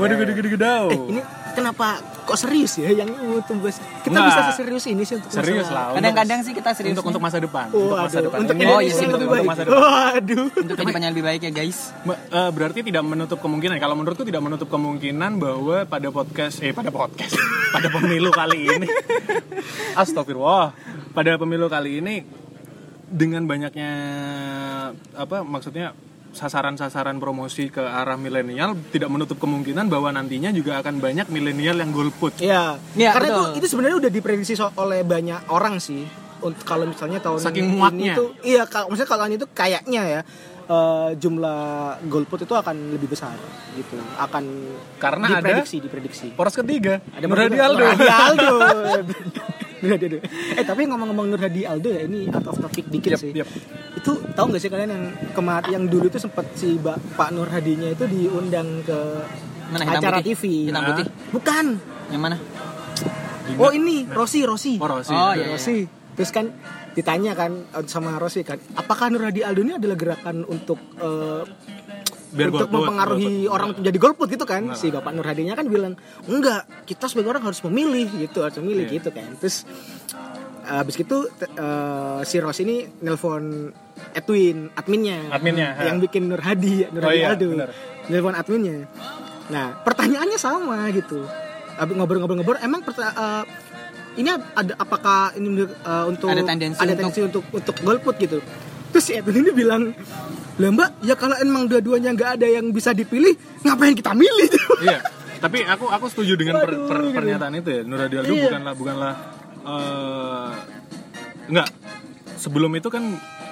Waduh, gede gede gedau. Eh, ini kenapa kok serius ya yang uh, tembus kita Nggak. bisa serius ini sih untuk Nah, Serius masalah. lah. untuk- kadang-kadang sih kita serius untuk untuk masa depan. Oh, untuk masa aduh. depan. Untuk Ini- Oh, Indonesia iya sih, yang betul, lebih untuk baik. masa depan. gitu. Waduh. untuk kehidupan yang lebih baik ya guys Me- eh, berarti tidak menutup kemungkinan kalau menurutku tidak menutup kemungkinan bahwa pada podcast eh pada podcast pada pemilu kali ini astagfirullah pada pemilu kali ini dengan banyaknya apa maksudnya sasaran-sasaran promosi ke arah milenial tidak menutup kemungkinan bahwa nantinya juga akan banyak milenial yang golput Iya. Iya, Karena itu betul. itu sebenarnya udah diprediksi so- oleh banyak orang sih. Untuk kalau misalnya tahun Saking ini muaknya. itu iya kalau misalnya kalau tahun itu kayaknya ya eh, jumlah golput itu akan lebih besar gitu. Akan Karena ada- diprediksi diprediksi. poros ketiga ada Nur Muradi Aldo Nur Hadi Aldo. Nur Hadi Aldo. Eh tapi ngomong-ngomong Nur Hadi Aldo ya ini out of topic dikit Yap, sih. yap. Itu tahu nggak sih kalian yang kemar yang dulu itu sempat si Ba- Pak Nur Hadinya itu diundang ke Mana, hitam acara putih? TV. Hitam Nah. putih? Bukan. yang mana Oh ini Rosi Rosi. poros Oh, iya. iya. Rosi. Terus kan ditanya kan sama Rosi kan, apakah Nur Hadi Aldo ini adalah gerakan untuk eh, Biar untuk golput, mempengaruhi golput. orang untuk jadi golput gitu kan Nah. si bapak Nur Hadinya kan bilang enggak kita sebagai orang harus memilih gitu harus memilih Iya. gitu kan terus habis itu te- eh, si Ros ini nelpon Edwin adminnya Adminnya, ha. yang bikin Nur Hadi Nur Oh Hadi iya, Aldo benar. nelpon adminnya nah pertanyaannya sama gitu habis ngobrol-ngobrol-ngobrol emang perta- eh, ini ada apakah ini menurut, eh, untuk Ada tendensi ada untuk- tendensi untuk untuk golput gitu terus si Edwin ini bilang lah mbak ya kalau emang dua-duanya nggak ada yang bisa dipilih ngapain kita milih iya tapi aku aku setuju dengan per- Waduh, per- gitu. pernyataan itu ya Nur Hadi Aldo Iya. bukanlah bukanlah eh, enggak sebelum itu kan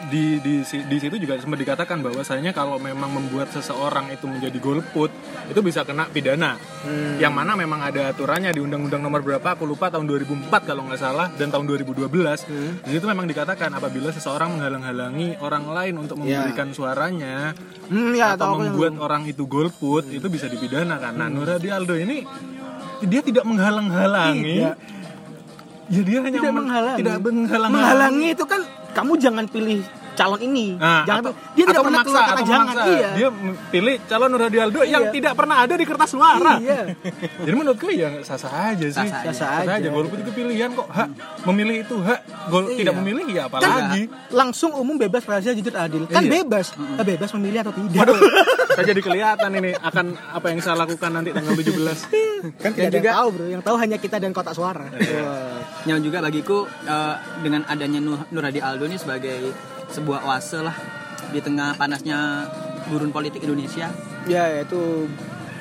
di di si- di situ juga sempat dikatakan bahwasanya kalau memang membuat seseorang itu menjadi golput itu bisa kena pidana Hmm. yang mana memang ada aturannya di undang-undang nomor berapa aku lupa tahun 2004 kalau nggak salah dan tahun 2012 Hmm. di situ memang dikatakan apabila seseorang menghalang-halangi orang lain untuk Ya. memberikan suaranya hmm, ya atau tahu aku yang- membuat orang itu golput itu bisa dipidana kan. Nah, Nur Hadi Aldo ini dia tidak menghalang-halangi. Tidak. Ya dia hanya tidak men- menghalangi tidak menghalang-halangi. menghalangi itu kan kamu jangan pilih calon ini Nah, jangan atau, dia tidak atau pernah memaksa, keluar kata atau jangan memaksa. iya Dia pilih calon Nur Hadi Aldo yang Iya. tidak pernah ada di kertas suara. Iya. Jadi menurutku ya sah-sah aja sih. Sah-sah aja. Sah-sah aja. Golput itu pilihan kok. Hak memilih itu hak. Gol Iya. tidak memilih ya kan apalagi. langsung umum bebas rahasia jujur adil kan Iya. bebas Eh, bebas memilih atau tidak Waduh, saya jadi kelihatan ini akan apa yang saya lakukan nanti tanggal 17. kan Dan tidak juga juga- tahu bro yang tahu hanya kita dan kotak suara Iya. Wah. yang juga bagiku eh, dengan adanya Nur, Nur Hadi Aldo ini sebagai sebuah oase lah di tengah panasnya gurun politik Indonesia ya itu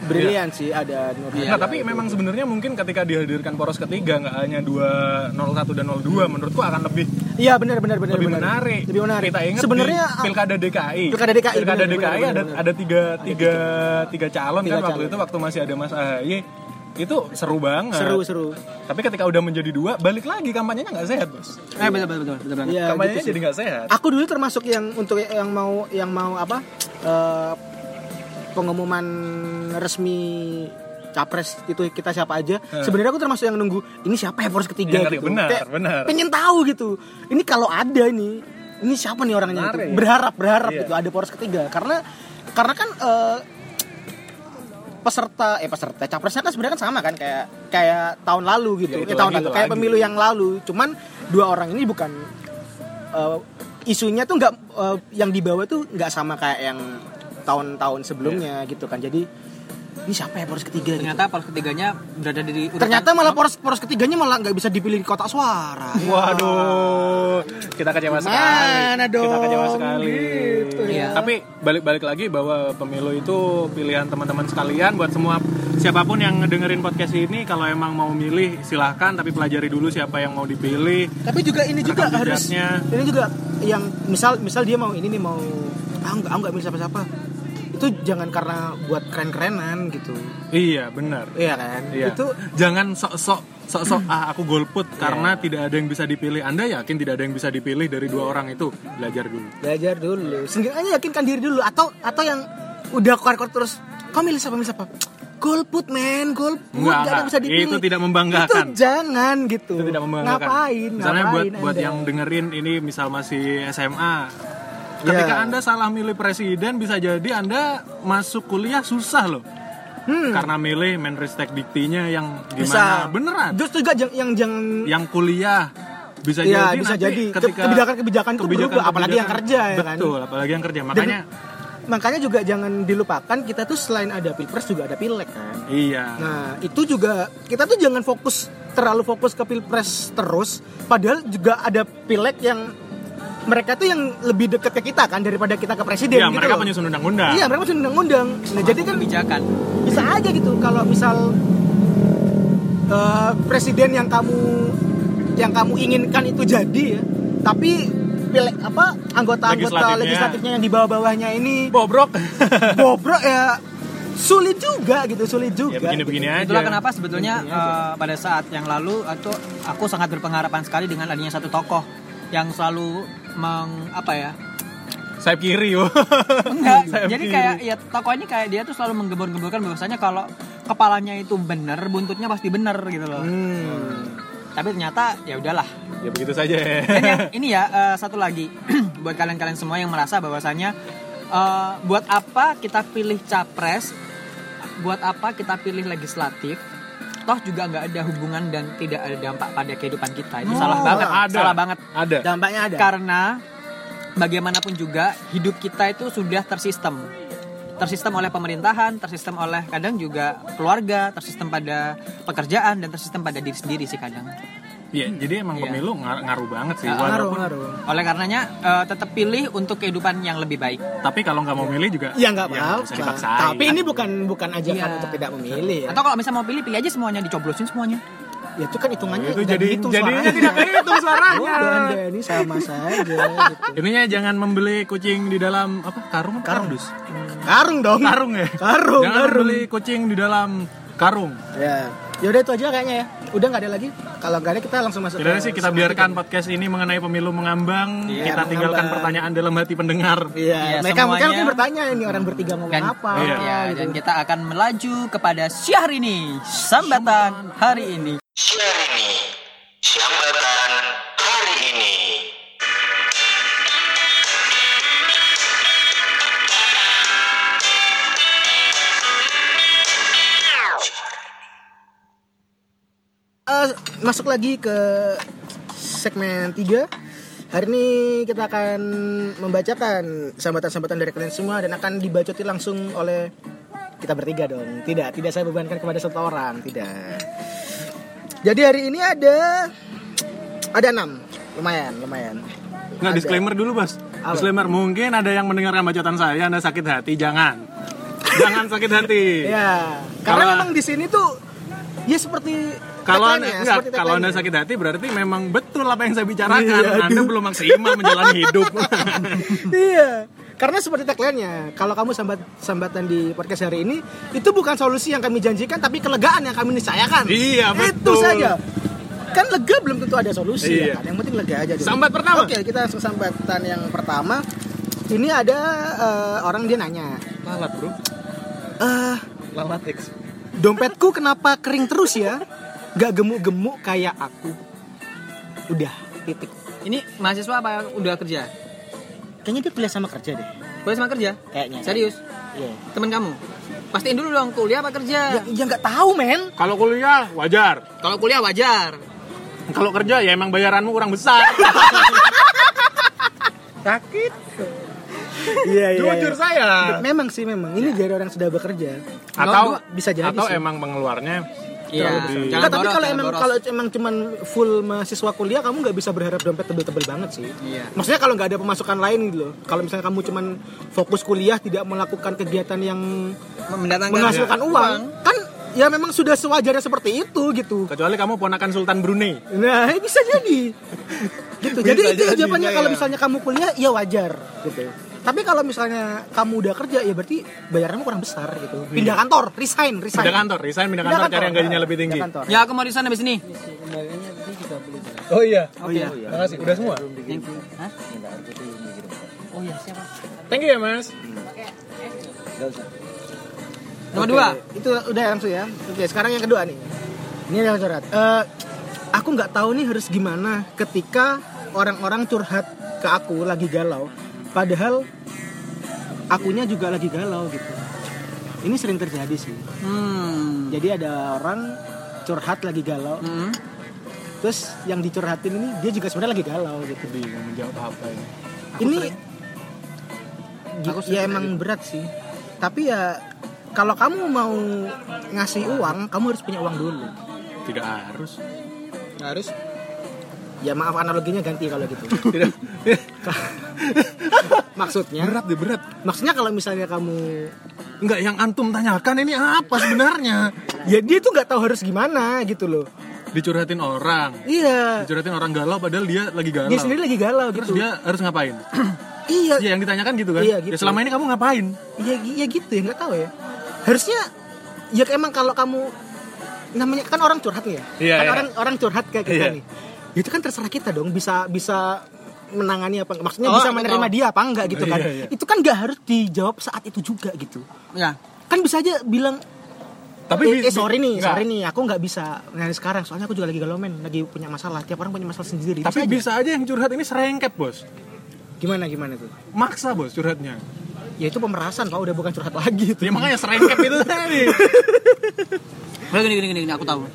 brilian sih ada Nur Iya. Nah, tapi memang sebenarnya mungkin ketika dihadirkan poros ketiga nggak hanya 201 dan 02 menurutku akan lebih Hmm. iya benar benar benar lebih benar. menarik. lebih menarik Kita ingat sebenarnya di Pilkada DKI. Pilkada DKI, Pilkada benar, DKI benar, ada benar. ada tiga tiga tiga calon Tiga kan waktu calon. itu waktu masih ada Mas AHY. Itu seru banget. seru seru Tapi ketika udah menjadi dua, balik lagi kampanyenya nggak sehat, Bos. eh betul betul betul, betul banget. Iya, kampanyenya gitu sih. jadi nggak sehat. aku dulu termasuk yang untuk yang mau yang mau apa eh, pengumuman resmi capres itu kita siapa aja sebenarnya aku termasuk yang nunggu ini siapa ya poros ketiga Iya, gitu benar, benar. pengen tahu gitu ini kalau ada ini ini siapa nih orangnya gitu. Menarik. berharap berharap Iya. gitu ada poros ketiga karena karena kan eh, peserta eh peserta capresnya kan sebenarnya kan sama kan kayak kayak tahun lalu gitu Ya, itu Eh, tahun lagi, lalu itu kayak lagi. pemilu yang lalu cuman dua orang ini bukan eh, isunya tuh nggak eh, yang dibawa tuh nggak sama kayak yang tahun-tahun sebelumnya gitu kan jadi ini siapa ya poros ketiga gitu. ternyata poros ketiganya berada di urutan- ternyata malah poros poros ketiganya malah nggak bisa dipilih di kotak suara Ya. Waduh, kita kecewa sekali. Gimana Kita dong? kecewa sekali. Iya. Gitu ya. Tapi balik-balik lagi bahwa pemilu itu pilihan teman-teman sekalian buat semua siapapun yang dengerin podcast ini kalau emang mau milih silahkan tapi pelajari dulu siapa yang mau dipilih. tapi juga ini juga Rekam harus jejaknya. ini juga yang misal misal dia mau ini nih mau ah nggak ah, nggak milih siapa-siapa itu jangan karena buat keren-kerenan gitu Iya, benar. iya kan Iya. itu Iya. jangan sok-sok sok-sok ah aku golput karena tidak ada yang bisa dipilih. Anda yakin tidak ada yang bisa dipilih dari dua orang itu? Belajar dulu. belajar dulu seenggaknya yakinkan diri dulu atau atau yang udah keluar-keluar terus kau milih siapa milih siapa golput men golput Enggak, nggak ada yang bisa enggak. dipilih Itu tidak membanggakan. itu jangan gitu itu tidak membanggakan. ngapain Misalnya ngapain buat buat Anda? yang dengerin ini misal masih SMA. Ketika Iya. Anda salah milih presiden bisa jadi Anda masuk kuliah susah loh. Karena milih Menristek diktinya yang Hmm. bisa gimana beneran. terus juga jang- yang jangan Yang kuliah bisa Iya, jadi bisa nanti jadi. Ke- ketika kebijakan-kebejakan itu berubah, apalagi yang kerja, ya kan? Betul, apalagi yang kerja. dan- Makanya makanya juga jangan dilupakan kita tuh selain ada pilpres juga ada pileg kan iya. Nah, itu juga kita tuh jangan fokus terlalu fokus ke pilpres terus, padahal juga ada pileg yang mereka tuh yang lebih dekat ke kita kan daripada kita ke presiden. Iya, gitu mereka loh. penyusun undang-undang. Iya, mereka penyusun undang-undang. Nah, jadi kan kebijakan bisa aja gitu kalau misal eh, presiden yang kamu yang kamu inginkan itu jadi ya, tapi pileg apa anggota-anggota Legislatifnya. legislatifnya yang di bawah-bawahnya ini Bobrok. bobrok ya sulit juga gitu, sulit juga. ya begini-begini aja. Itulah kenapa sebetulnya Begini aja. eh, pada saat yang lalu atau aku sangat berpengharapan sekali dengan adanya satu tokoh yang selalu meng apa ya? Sayap kiri. yo. Enggak. Sayap jadi kiri. kayak ya tokoh ini kayak dia tuh selalu menggembor-gemborkan bahwasanya kalau kepalanya itu bener, buntutnya pasti bener gitu loh. Hmm. Tapi ternyata ya udahlah. ya begitu saja. eh, Dan yang- ini ya eh, satu lagi buat kalian-kalian semua yang merasa bahwasanya eh, buat apa kita pilih capres? Buat apa kita pilih legislatif? Toh juga nggak ada hubungan dan tidak ada dampak pada kehidupan kita. Itu salah banget, Oh, ada. salah banget. Ada. Dampaknya Ya. ada. Karena bagaimanapun juga hidup kita itu sudah tersistem. Tersistem oleh pemerintahan, tersistem oleh kadang juga keluarga, tersistem pada pekerjaan dan tersistem pada diri sendiri sih kadang. Iya, jadi emang pemilu ngar- ngaruh banget sih. Ah, Hmm. ngaruh, Walaupun ngaruh. Oleh karenanya eh, tetap pilih untuk kehidupan yang lebih baik. tapi kalau nggak mau milih juga Ya nggak bisa apa-apa. dipaksain. Tapi ini bukan bukan ajakan Iya. untuk tidak memilih. Ya. Atau kalau misalnya mau pilih, pilih aja semuanya, dicoblosin semuanya. ya itu kan hitungannya Itu nggak jadi- dihitung jadinya suaranya. tidak kehitung suaranya. Oh, dan- dan ini sama saja gitu. ininya jangan membeli kucing di dalam apa karung apa kardus? Karung dong. Karung ya. Karung, Jangan karung. membeli kucing di dalam karung. Ya. Yaudah itu aja kayaknya ya. Udah nggak ada lagi. Kalau nggak ada kita langsung masuk. Jadi ke- sih kita biarkan podcast ini mengenai pemilu mengambang. Iya, kita tinggalkan gitu. mengambang. pertanyaan dalam hati pendengar. Iya. Iya, mereka mungkin semuanya. mungkin bertanya ini orang bertiga ngomong Dan, apa. iya, gitu. dan kita akan melaju kepada Syahrini, sambatan hari ini. Siang ini, siambatan hari ini. Eh, masuk lagi ke segmen 3 Hari ini kita akan membacakan sambatan-sambatan dari kalian semua dan akan dibacoti langsung oleh kita bertiga dong. Tidak, tidak saya bebankan kepada satu orang, tidak. Jadi hari ini ada ada enam, lumayan, lumayan. Ada. Nggak disclaimer dulu bos. Apa? Disclaimer mungkin ada yang mendengarkan bacotan saya anda sakit hati jangan. jangan sakit hati. Ya, karena Kalau- memang di sini tuh ya seperti Kalau tagline-nya, anda, enggak, ya, seperti kalau anda tagline-nya. sakit hati berarti memang betul apa yang saya bicarakan. Iya, aduh. anda belum maksimal menjalani hidup. iya karena seperti tagline-nya kalau kamu sambat sambatan di podcast hari ini itu bukan solusi yang kami janjikan tapi kelegaan yang kami niscayakan itu Iya, betul. saja kan lega belum tentu ada solusi ya Iya. kan? yang penting lega aja dulu. Sambat pertama. oke kita langsung sambatan yang pertama ini ada eh, orang dia nanya Lalat bro, eh lalat X. dompetku kenapa kering terus ya gak gemuk-gemuk kayak aku udah titik Ini mahasiswa apa udah kerja? kayaknya dia kuliah sama kerja deh Kuliah sama kerja? kayaknya Serius? Iya. Temen kamu? Pastiin dulu dong kuliah apa ya kerja. ya nggak tahu men Kalau kuliah wajar, Kalau kuliah wajar. kalau kerja ya emang bayaranmu kurang besar. sakit iya iya Jujur Nah. saya. memang sih memang ini dari orang sudah bekerja Atau bisa jadi atau sih. emang pengeluarnya Iya. Terlalu besar. Jangan Enggak, tapi boros, kalau jangan emang boros. kalau emang cuman full mahasiswa kuliah kamu nggak bisa berharap dompet tebel-tebel banget sih. Iya. Maksudnya kalau nggak ada pemasukan lain gitu loh. Kalau misalnya kamu cuman fokus kuliah tidak melakukan kegiatan yang mendatangkan menghasilkan uang, kan ya memang sudah sewajarnya seperti itu gitu. kecuali kamu ponakan Sultan Brunei. Nah, bisa jadi. gitu. Bisa jadi itu jadi, jawabannya iya. kalau misalnya kamu kuliah ya wajar gitu. Tapi kalau misalnya kamu udah kerja ya berarti bayaranmu kurang besar gitu. Pindah kantor, resign, resign. Iya. Pindah kantor, resign pindah kantor cari yang gajinya lebih tinggi. Pindah kantor. Ya aku mau di sana di sini. Oh iya. Oke. Makasih, udah semua. Thank you. Hah? Oh ya siapa? Thank you ya, Mas. Nomor Oke, dua. Itu udah langsung ya. Oke, sekarang yang kedua nih. Ini yang curhat. Eh, aku nggak tahu nih harus gimana ketika orang-orang curhat ke aku lagi galau, padahal akunya juga lagi galau gitu. Ini sering terjadi sih. Hmm. Jadi ada orang curhat lagi galau, Hmm. terus yang dicurhatin ini dia juga sebenarnya lagi galau gitu. Bingung menjawab apa ini. ini sering. Gi- Aku ya sering emang berat sih. Tapi ya kalau kamu mau ngasih uang, kamu harus punya uang dulu. Tidak harus. harus ya maaf analoginya ganti kalau gitu Tidak. maksudnya berat deh, berat. maksudnya kalau misalnya kamu Enggak yang antum tanyakan ini apa sebenarnya? ya dia tuh nggak tahu harus gimana gitu loh Dicurhatin orang. iya Dicurhatin orang galau padahal dia lagi galau. dia sendiri lagi galau Terus gitu dia harus ngapain? iya Iya, yang ditanyakan gitu kan. Iya, gitu. Ya, selama ini kamu ngapain? iya ya gitu ya nggak tahu ya harusnya ya emang kalau kamu namanya kan orang curhat nih ya Iya, kan iya. orang orang curhat kayak kita Iya. nih Ya itu kan terserah kita dong bisa bisa menangani apa maksudnya Oh, bisa aku menerima tahu. dia apa enggak gitu Iya, kan iya. itu kan nggak harus dijawab saat itu juga gitu Ya. kan bisa aja bilang Tapi eh, bi- eh, sorry nih, enggak. sorry nih, aku nggak bisa nyanyi sekarang. Soalnya aku juga lagi galau men, lagi punya masalah. Tiap orang punya masalah sendiri. Bisa Tapi aja. bisa aja yang curhat ini serengket, Bos. gimana gimana tuh? Maksa, Bos, curhatnya. ya itu pemerasan pak udah bukan curhat lagi itu Ya makanya serengkep itu tadi. Udah gini, gini, gini, gini, aku tahu.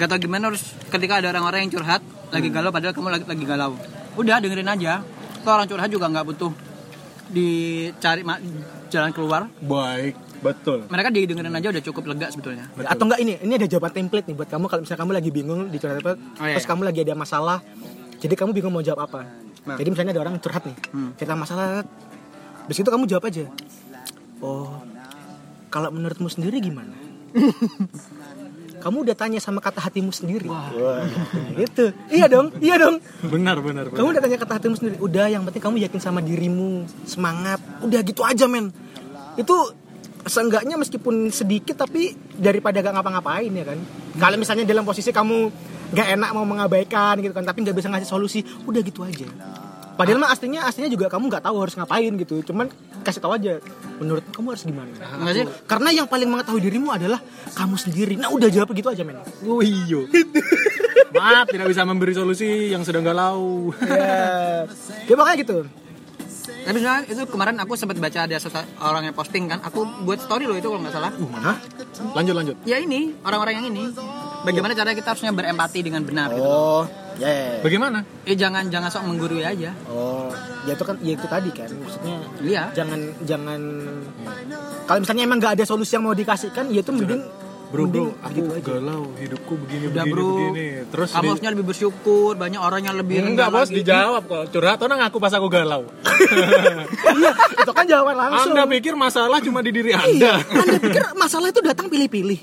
Gak tau gimana harus ketika ada orang-orang yang curhat Hmm. lagi galau padahal kamu lagi, lagi galau. Udah dengerin aja. Kalau orang curhat juga nggak butuh dicari ma- jalan keluar. Baik, betul. Mereka didengerin aja udah cukup lega sebetulnya. Betul. atau enggak ini ini ada jawaban template nih buat kamu kalau misalnya kamu lagi bingung di curhat apa iya, terus iya. kamu lagi ada masalah jadi kamu bingung mau jawab apa Nah. jadi misalnya ada orang curhat nih Hmm. cerita masalah habis itu kamu jawab aja oh kalau menurutmu sendiri gimana kamu udah tanya sama kata hatimu sendiri Nah, gitu iya dong iya dong Benar, benar, benar. kamu udah tanya kata hatimu sendiri udah yang penting kamu yakin sama dirimu semangat udah gitu aja men itu seenggaknya meskipun sedikit tapi daripada gak ngapa-ngapain ya kan kalau misalnya dalam posisi kamu gak enak mau mengabaikan gitu kan tapi nggak bisa ngasih solusi udah gitu aja padahal mah aslinya aslinya juga kamu nggak tahu harus ngapain gitu cuman kasih tahu aja menurut kamu harus gimana Enggak sih? karena yang paling mengetahui dirimu adalah kamu sendiri nah udah jawab gitu aja men Oh iya. iyo. Maaf tidak bisa memberi solusi yang sedang galau. ya ya makanya gitu Tapi sebenarnya itu kemarin aku sempat baca ada sesa- orang yang posting kan. Aku buat story loh itu kalau nggak salah. Uh, mana Lanjut, lanjut. Ya ini orang-orang yang ini. Bagaimana cara kita harusnya berempati dengan benar? gitu. oh ya ya, ya. Bagaimana? Eh jangan jangan sok menggurui aja. Oh, ya itu kan, ya itu tadi kan, maksudnya Iya. jangan jangan kalau misalnya emang nggak ada solusi yang mau dikasihkan, ya itu mending Bro, mending bro, aku gitu aja. galau, hidupku begini, Udah begini, bro, begini. Terus kamu di- harusnya lebih bersyukur. Banyak orang yang lebih Enggak rendah bos, lagi. dijawab kok. Curhat orang aku pas aku galau. Iya, itu kan jawaban langsung. Anda pikir masalah cuma di diri Iya, Anda. Anda pikir masalah itu datang pilih-pilih?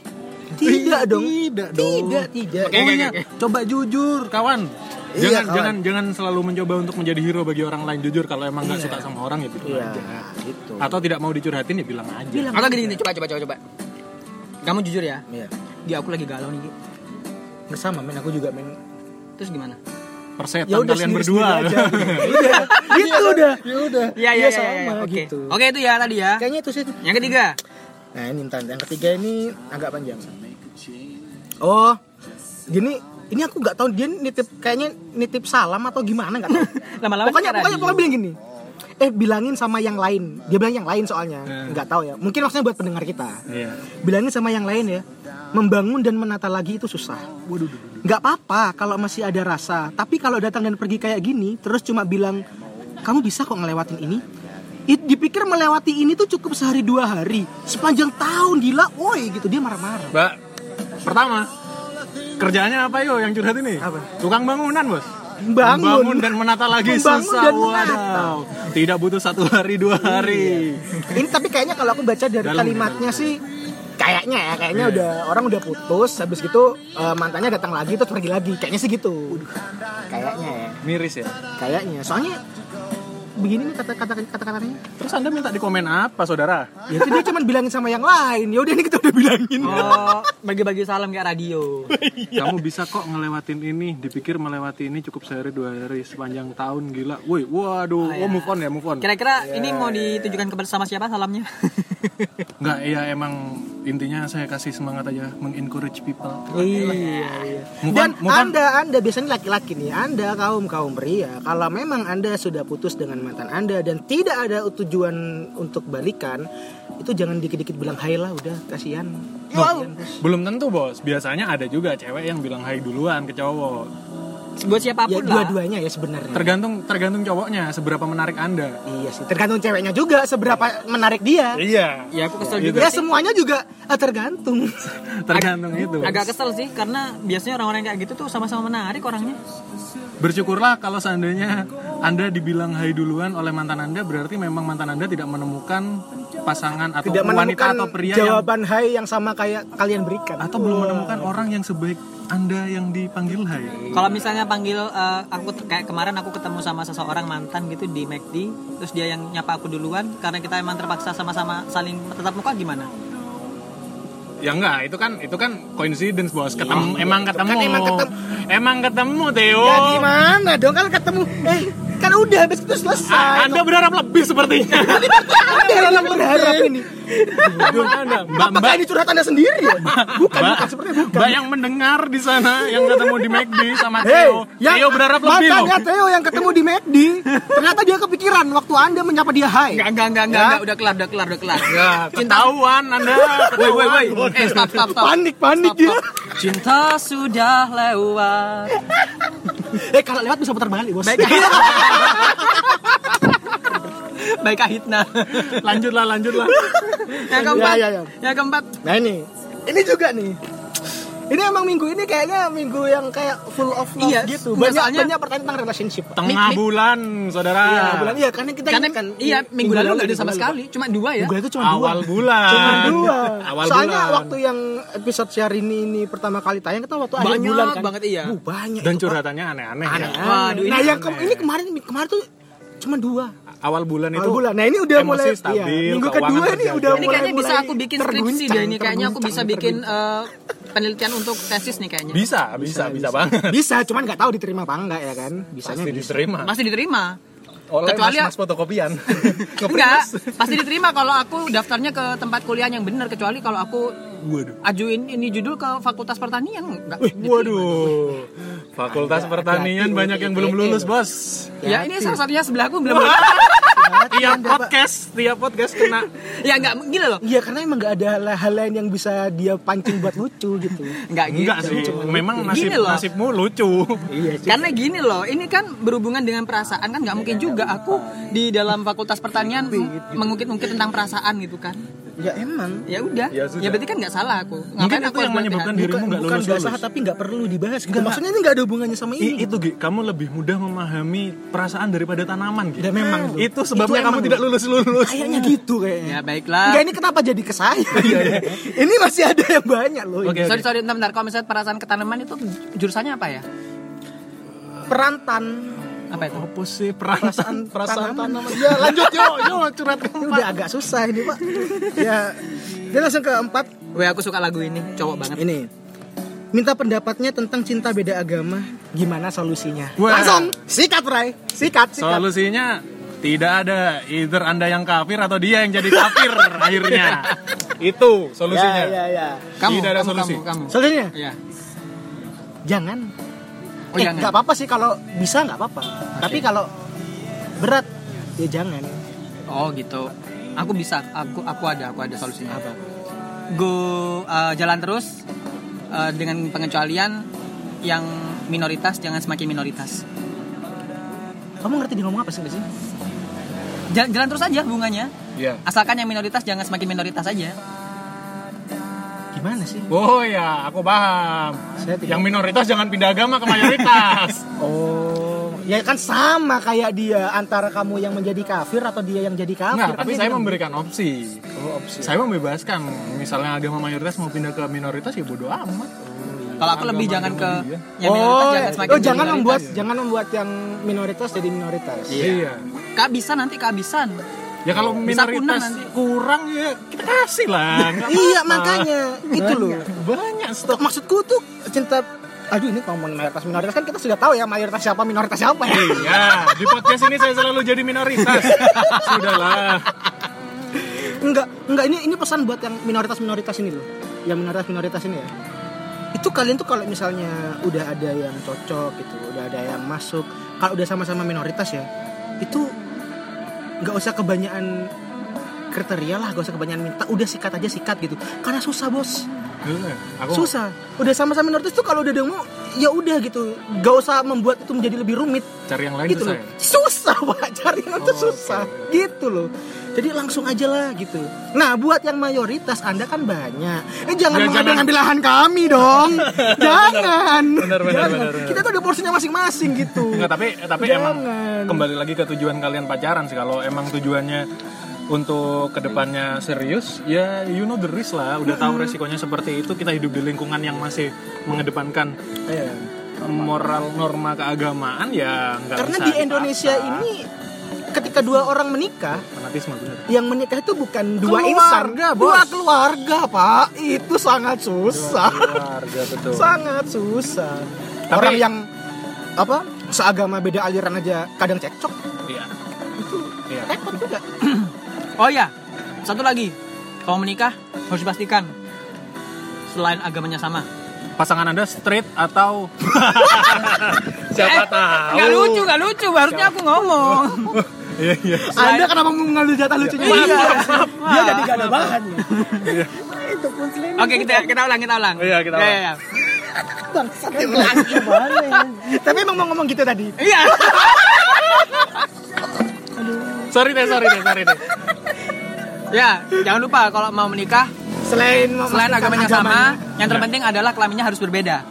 Tidak dong. Tidak dong. Tidak, tidak. Oke, oke, Namanya- oke. Coba jujur. Kawan, Iya, jangan kawan. jangan jangan selalu mencoba untuk menjadi hero bagi orang lain jujur kalau emang nggak suka sama orang ya gitu Iya, aja. gitu. Atau tidak mau dicurhatin ya bilang aja. Bilang. Atau gini gini Iya, coba coba coba coba. Kamu jujur ya. Iya. Dia aku lagi galau nih. Gi. Nggak sama men, aku juga men. Terus gimana? Persetan Ya udah kan kalian sendiri-sendiri berdua. aja. Iya, gitu udah. Ya udah. Iya, sama Oke. gitu. Oke itu ya tadi ya. Kayaknya itu sih Yang ketiga. Nah ini bentar, yang ketiga ini agak panjang. Oh, gini ini aku nggak tahu dia nitip kayaknya nitip salam atau gimana nggak tahu. Lama-lama pokoknya secara pokoknya, radio. pokoknya bilang gini. Eh bilangin sama yang lain. Dia bilang yang lain soalnya Hmm. nggak tahu ya. Mungkin maksudnya buat pendengar kita. Iya. Bilangin sama yang lain ya. Membangun dan menata lagi itu susah. Waduh, duh, duh, duh. Nggak apa-apa kalau masih ada rasa. Tapi kalau datang dan pergi kayak gini, terus cuma bilang kamu bisa kok ngelewatin ini. It- dipikir melewati ini tuh cukup sehari dua hari. Sepanjang tahun gila, woi gitu dia marah-marah. Mbak, pertama kerjaannya apa yo yang curhat ini? Apa? Tukang bangunan bos. Membangun Bangun. dan menata lagi Membangun susah. dan menata. Iya. Wadaw. Tidak butuh satu hari dua hari. Ini tapi kayaknya kalau aku baca dari Dalam, ya. Iya. kalimatnya sih kayaknya ya kayaknya udah orang udah putus habis gitu eh, mantannya datang lagi terus pergi lagi kayaknya sih gitu kayaknya ya Miris ya. kayaknya soalnya begini nih kata kata kata katanya Terus anda minta di komen apa saudara? ya itu dia cuman bilangin sama yang lain ya udah ini kita udah bilangin Iya. Oh, bagi-bagi salam kayak radio. Kamu bisa kok ngelewatin ini, dipikir melewati ini cukup sehari dua hari sepanjang tahun gila. Woi, waduh, oh, move on ya, move on. Kira-kira ini mau iya, ditujukan kepada sama siapa salamnya? Enggak, iya emang intinya saya kasih semangat aja, mengencourage people. Iya, iya. Move Dan on, move on. anda, anda biasanya laki-laki nih, anda kaum kaum pria, kalau memang anda sudah putus dengan mantan anda dan tidak ada tujuan untuk balikan, itu jangan dikit-dikit bilang hai lah, udah kasihan. Ya kan? Kasihan, bos. Belum tentu bos, biasanya ada juga cewek yang bilang hai duluan ke cowok. Buat Ya siapapun lah. dua-duanya ya sebenarnya. Tergantung tergantung cowoknya seberapa menarik anda. iya sih, tergantung ceweknya juga seberapa menarik dia. Iya, Ya aku kesel juga. Ya semuanya juga eh, tergantung. tergantung itu. Agak kesel sih karena biasanya orang-orang kayak gitu tuh sama-sama menarik orangnya. Hmm. Bersyukurlah kalau seandainya Anda dibilang hai duluan oleh mantan Anda berarti memang mantan Anda tidak menemukan pasangan atau Tidak menemukan wanita atau pria yang jawaban hai yang sama kayak kalian berikan. atau belum menemukan orang yang sebaik Anda yang dipanggil hai. Kalau misalnya panggil eh, aku t- kayak kemarin aku ketemu sama seseorang mantan gitu di McD, terus dia yang nyapa aku duluan karena kita emang terpaksa sama-sama saling tetap muka gimana? Ya enggak, itu kan itu kan coincidence, Bos. Ketemu Kan emang ketemu. Ya, emang ketemu. Emang ketemu, Theo. Ya gimana dong kan ketemu eh kan udah habis itu selesai. Anda berharap lebih sepertinya. Ada yang berharap ini. Aduh, Anda. Mbak, Apakah ini curhat Anda sendiri ya? Bukan, Mbak, bukan sepertinya bukan. Mbak yang mendengar di sana yang ketemu di McD sama Hei, ya, Theo. Theo berharap lebih loh. Makanya Theo yang ketemu di McD, ternyata dia kepikiran waktu Anda menyapa dia hai. Enggak, enggak, enggak, enggak, enggak, udah kelar, udah kelar, udah kelar. Ya, ketahuan Anda. Woi, woi, woi. Eh, stop, stop, stop. Panik, panik Stop, dia. stop. Cinta sudah lewat. Eh, kalau lewat bisa putar balik, Bos. Nah, Baik. Baik Ahitna. Lanjutlah, lanjutlah. Yang keempat. Ya, ya, ya. Yang keempat. Nah, ini. Ini juga nih. Ini emang minggu ini kayaknya minggu yang kayak full of love Iya, gitu. Banyak masalahnya- banyak pertanyaan tentang relationship. Pak. Tengah bulan, Saudara. Iya, bulan iya karena kita Ah. Karena ingat kan, iya minggu lalu nggak ada minggu sama lalu. sekali, cuma dua ya. Minggu lalu itu cuma dua. Awal bulan. Cuma dua. Awal Soalnya bulan. waktu yang episode Syahrini ini pertama kali tayang kita waktu akhir Banyak bulan kan. banget, iya. Uh, banyak. dan itu, Pak. curhatannya aneh-aneh. ya. Aneh. Waduh, ini nah, yang ke- aneh. ini kemarin kemarin tuh cuma dua. Awal bulan itu. Awal bulan. Nah, ini udah emosi mulai iya, stabil, minggu keuangan kedua ini terjaga. udah Ini mulai- kayaknya bisa mulai aku bikin skripsi terguncang, deh ini kayaknya aku bisa terguncang, bikin eh, penelitian untuk tesis nih kayaknya. Bisa, bisa, bisa, banget. bisa cuman nggak tahu diterima apa enggak ya kan bisanya Pasti bisa. diterima. Pasti diterima. Oleh kecuali- mas, mas fotokopian. Enggak, pasti diterima kalau aku daftarnya ke tempat kuliah yang benar kecuali kalau aku Waduh. ajuin ini judul ke Fakultas Pertanian enggak. diterima. Waduh. Fakultas Pertanian hati-hati, banyak yang belum hati-hati, lulus, loh. Bos. Ya ini salah satunya sebelahku belum. Tiap podcast, tiap podcast kena ya enggak gila loh. Iya karena emang nggak ada hal- hal lain yang bisa dia pancing buat lucu gitu. Enggak gitu. Enggak sih, memang nasib Gini loh. nasibmu lucu. iya sih. Karena gini loh, ini kan berhubungan dengan perasaan kan nggak mungkin juga aku di dalam Fakultas Pertanian gitu. mengungkit-ungkit tentang perasaan gitu kan. Ya emang. Ya udah. Ya, Ya sudah. berarti kan nggak salah aku. Mungkin aku itu harus yang menyebabkan berhati-hati? dirimu nggak bukan lulus nggak lulus. sah tapi nggak perlu dibahas gitu. Maksudnya ini nggak ada hubungannya sama I- ini. itu Gi, kamu lebih mudah memahami perasaan daripada tanaman. Gi. Ya, memang tuh. itu sebabnya Itu kamu emang tidak tuh. lulus lulus. Kayaknya gitu Ya kayaknya. baiklah. Enggak ini kenapa jadi ke saya? ini masih ada yang banyak loh. Oke. Sorry sorry bentar, bentar. Kalau misalnya perasaan ke tanaman itu jurusannya apa ya? Perantan Apa itu? Apa sih perasaan perasaan tanaman? tanaman. Ya lanjut yuk, yuk. curhat Ini Udah agak susah ini pak. Ya, dia langsung ke empat. Weh aku suka lagu ini, cowok banget. Ini minta pendapatnya tentang cinta beda agama. Gimana solusinya? Wah. Langsung sikat Ray, sikat sikat. Solusinya tidak ada either Anda yang kafir atau dia yang jadi kafir akhirnya. Itu solusinya. Ya, ya, ya. Kamu, Tidak ada kamu, solusi. Eh, Kamu, kamu. Solusinya? Iya. Jangan. Oh, eh, jangan. nggak apa-apa sih kalau bisa nggak apa-apa. Tapi kalau berat ya jangan. Oh gitu. Aku bisa. Aku aku ada. Aku ada solusinya. Apa? Go uh, jalan terus uh, dengan pengecualian yang minoritas jangan semakin minoritas. Kamu ngerti dia ngomong apa sih nggak sih? Jalan, jalan terus aja hubungannya. Iya. Asalkan yang minoritas jangan semakin minoritas aja. Gimana sih? Oh ya, aku paham. Saya tidak- Yang minoritas jangan pindah agama ke mayoritas. Oh, ya kan sama kayak dia antara kamu yang menjadi kafir atau dia yang jadi kafir. Enggak, Kan tapi dia saya bilang, memberikan opsi. "Oh, opsi." Saya membebaskan. Misalnya agama mayoritas mau pindah ke minoritas ya bodo amat. Kalau aku lebih jangan Agama ya. ke dia. yang Ya, minoritas oh, jangan eh, semakin oh, jangan minoritas. membuat jangan membuat yang minoritas jadi minoritas. Iya. Kehabisan nanti kehabisan. Ya kalau Bisa punah minoritas nanti. kurang ya kita kasih lah. nggak Iya apa-apa. makanya itu loh. Banyak stok. Tuh, Maksudku tuh cinta aduh ini ngomongin mayoritas minoritas kan kita sudah tahu ya mayoritas siapa minoritas siapa Iya, ya. Ya, di podcast ini saya selalu jadi minoritas. Sudahlah. enggak enggak ini ini pesan buat yang minoritas minoritas ini loh. Yang minoritas minoritas ini ya. Itu kalian tuh kalau misalnya udah ada yang cocok gitu, udah ada yang masuk, kalau udah sama-sama minoritas ya, itu nggak usah kebanyakan kriteria lah, gak usah kebanyakan minta, udah sikat aja sikat gitu. Karena susah bos. Aku susah udah sama-sama minoritas tuh kalau udah demo ya udah gitu gak usah membuat itu menjadi lebih rumit cari yang Oh, lain ya. gitu tuh loh saya. susah pak cari yang itu susah gitu loh jadi langsung aja lah gitu nah buat yang mayoritas anda kan banyak eh jangan Ya, mau jangan. ngambil ngambil lahan kami dong jangan Benar, benar, Jangan. benar, benar. kita tuh ada porsinya masing-masing gitu Enggak, tapi eh, tapi emang Jangan. kembali lagi ke tujuan kalian pacaran sih kalau emang tujuannya untuk kedepannya serius ya you know the risk lah udah tahu resikonya seperti itu kita hidup di lingkungan yang masih mengedepankan Iya. moral norma keagamaan ya nggak karena bisa di dipaksa. Indonesia ini ketika dua orang menikah fanatisme bener yang menikah itu bukan dua insan, Keluarga, Bos. dua keluarga, Pak. Itu sangat susah. keluarga betul sangat susah. Tapi- Orang yang apa? seagama beda aliran aja kadang cekcok Iya. Iya. repot juga Oh ya, iya. satu lagi. Kalau menikah harus dipastikan selain agamanya sama. Pasangan Anda straight atau Eh, Siapa tahu. Gak Eh, lucu, gak lucu. Harusnya aku ngomong. Iya, iya. anda kenapa mau mengambil jatah lucunya Iya. dia jadi gak ada bahan ya. itu pun selain Oke, kita kita ulang, kita ulang. Iya, kita Iya, ulang. iya. bangsat yang lagi tapi emang mau ngomong gitu tadi Iya. Sorry deh, sorry deh, sorry deh. Ya, jangan lupa kalau mau menikah selain selain memastikan agamanya sama, yang terpenting Iya. adalah kelaminnya harus berbeda.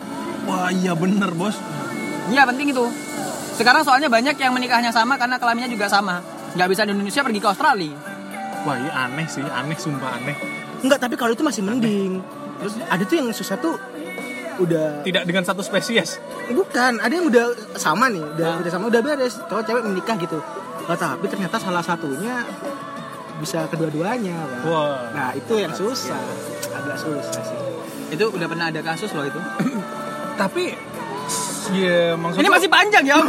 Wah, iya bener, Bos. Iya, penting itu. Sekarang soalnya banyak yang menikahnya sama karena kelaminnya juga sama. Nggak bisa di Indonesia pergi ke Australia. Wah, iya aneh sih, aneh sumpah aneh. enggak tapi kalau itu masih mending terus ada tuh yang susah tuh udah Tidak dengan satu spesies. bukan ada yang udah sama nih udah udah sama udah beres cowok cewek menikah gitu Lah, tapi ternyata salah satunya bisa kedua-duanya Pak. Wah. nah itu yang susah agak susah sih Itu udah pernah ada kasus loh itu. Tapi ya maksudnya Ini masih panjang ya. Om.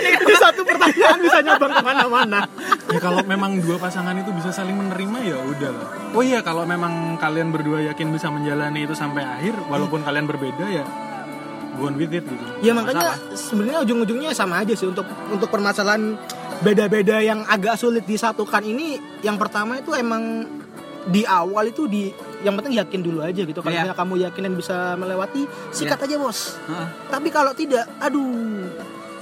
ini satu pertanyaan bisa nyabang kemana-mana ya kalau memang dua pasangan itu bisa saling menerima ya udah lah. Oh iya kalau memang kalian berdua yakin bisa menjalani itu sampai akhir walaupun kalian berbeda ya go on with it gitu. ya makanya sebenarnya ujung-ujungnya sama aja sih untuk untuk permasalahan beda-beda yang agak sulit disatukan ini yang pertama itu emang di awal itu di yang penting yakin dulu aja gitu kalau Iya. misalnya kamu yakin dan bisa melewati sikat aja bos Heeh. tapi kalau tidak aduh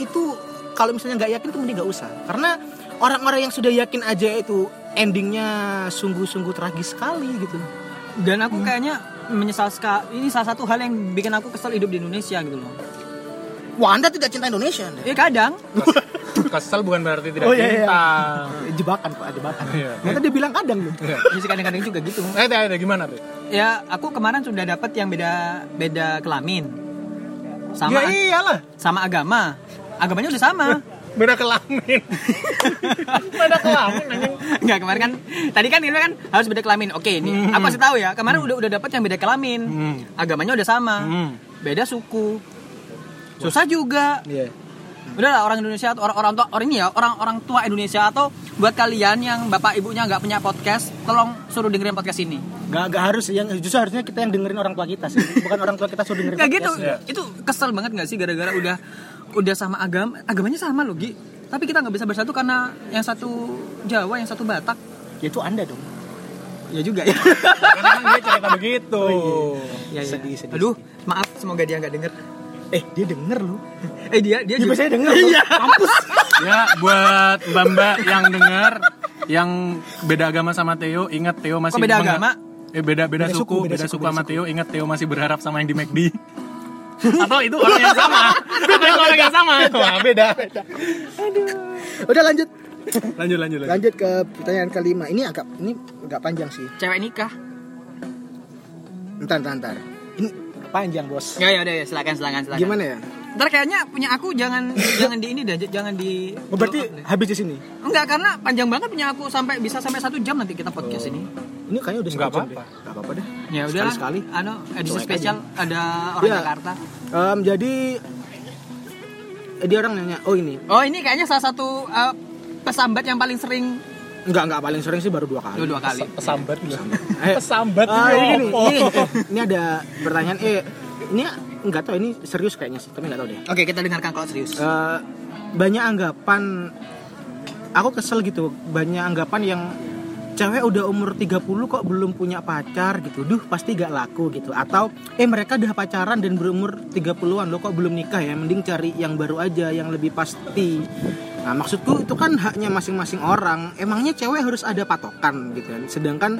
itu kalau misalnya nggak yakin tuh mending nggak usah karena orang-orang yang sudah yakin aja itu endingnya sungguh-sungguh tragis sekali gitu Dan aku kayaknya menyesal sekali. Ini salah satu hal yang bikin aku kesel hidup di Indonesia gitu loh. wah anda tidak cinta Indonesia anda Ya kadang. kesel bukan berarti tidak Oh, iya, iya. cinta. jebakan pak jebakan Iya. nanti dia bilang kadang loh Ya sih kadang-kadang juga gitu. Eh, ada, ada gimana tuh? Ya aku kemarin sudah dapat yang beda beda kelamin. Ya Sama iyalah, sama agama. Agamanya udah sama. beda kelamin. beda kelamin anjing. Enggak kemarin kan tadi kan ini kan harus beda kelamin. Oke, ini aku kasih tahu ya. Kemarin udah udah dapat yang beda kelamin. Hmm. Agamanya udah sama. Hmm. Beda suku. Susah juga. Udah lah orang Indonesia atau orang-orang tua orang ini ya, orang-orang tua Indonesia atau buat kalian yang bapak ibunya nggak punya podcast, tolong suruh dengerin podcast ini. Gak, gak harus sih, yang justru harusnya kita yang dengerin orang tua kita sih, bukan orang tua kita suruh dengerin. Kayak gitu. podcast. ya. Iya. Itu kesel banget nggak sih gara-gara udah udah sama agama, agamanya sama loh, Gi. Tapi kita nggak bisa bersatu karena yang satu Jawa, yang satu Batak. Ya itu anda dong. Ya juga ya. Karena dia cerita begitu. Oh, ya, ya. Gitu. Sedih, sedih, Aduh, maaf semoga dia nggak denger. Iya, Eh dia denger lu. Eh dia dia Dia juga. biasanya denger. Iya. Kampus. Ya buat Mbak-mbak yang dengar yang beda agama sama Theo, ingat Theo Kok masih beda meng- agama? Eh beda beda, Beda suku, suku, beda beda suku, suku, beda sama suku. Theo, ingat Theo masih berharap sama yang di McD. Atau itu orang yang sama? Beda orang yang sama. Wah, beda. Udah lanjut. Lanjut lanjut lanjut. Lanjut ke pertanyaan kelima. Ini agak ini agak panjang sih. Cewek nikah. Entar entar entar. Ini panjang bos. Ya ya udah ya, silakan silakan silakan. Gimana ya? Ntar kayaknya punya aku jangan jangan di ini deh, j- jangan di Oh, berarti habis di sini. enggak karena panjang banget punya aku sampai bisa sampai satu jam nanti kita podcast Oh, ini. Ini kayaknya udah Nggak sekejam apa-apa. deh. Nggak apa-apa deh. Ya udah Sekali-sekali. Ano edisi Cuek spesial ada orang Iya. Jakarta. Em, jadi eh, dia orang nanya, oh ini Oh ini kayaknya salah satu eh, pesambat yang paling sering nggak nggak paling sering sih baru dua kali. dua, dua kali. Pesambat loh. Ayo. Pesambat Ah, ini ini, gini, apa? ini, ini ada pertanyaan eh ini nggak tahu ini serius kayaknya sih tapi nggak tahu deh Oke kita dengarkan kalau serius. Eh, banyak anggapan aku kesel gitu banyak anggapan yang cewek udah umur 30 kok belum punya pacar gitu duh pasti gak laku gitu atau eh mereka udah pacaran dan berumur 30-an lo kok belum nikah ya mending cari yang baru aja yang lebih pasti nah maksudku itu kan haknya masing-masing orang emangnya cewek harus ada patokan gitu kan sedangkan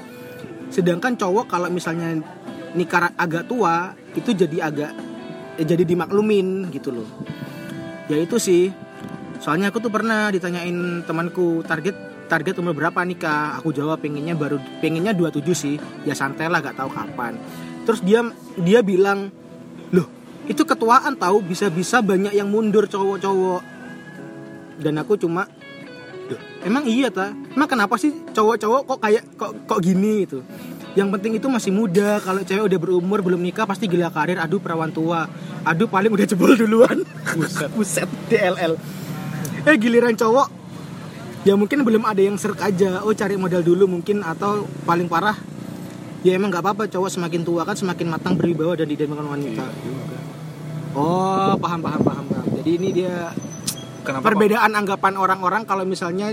sedangkan cowok kalau misalnya nikah agak tua itu jadi agak eh, jadi dimaklumin gitu loh ya itu sih soalnya aku tuh pernah ditanyain temanku target target umur berapa nikah aku jawab pengennya baru pengennya 27 sih ya santai lah gak tahu kapan terus dia dia bilang loh itu ketuaan tahu bisa-bisa banyak yang mundur cowok-cowok dan aku cuma "Duh, emang iya ta emang kenapa sih cowok-cowok kok kayak kok kok gini gitu yang penting itu masih muda kalau cewek udah berumur belum nikah pasti gila karir aduh perawan tua aduh paling udah jebol duluan Buset. buset DLL eh giliran cowok ya mungkin belum ada yang serk aja oh cari modal dulu mungkin atau paling parah ya emang nggak apa-apa cowok semakin tua kan semakin matang berwibawa dan didambakan wanita oh paham paham paham paham jadi ini dia Kenapa kok perbedaan anggapan orang-orang kalau misalnya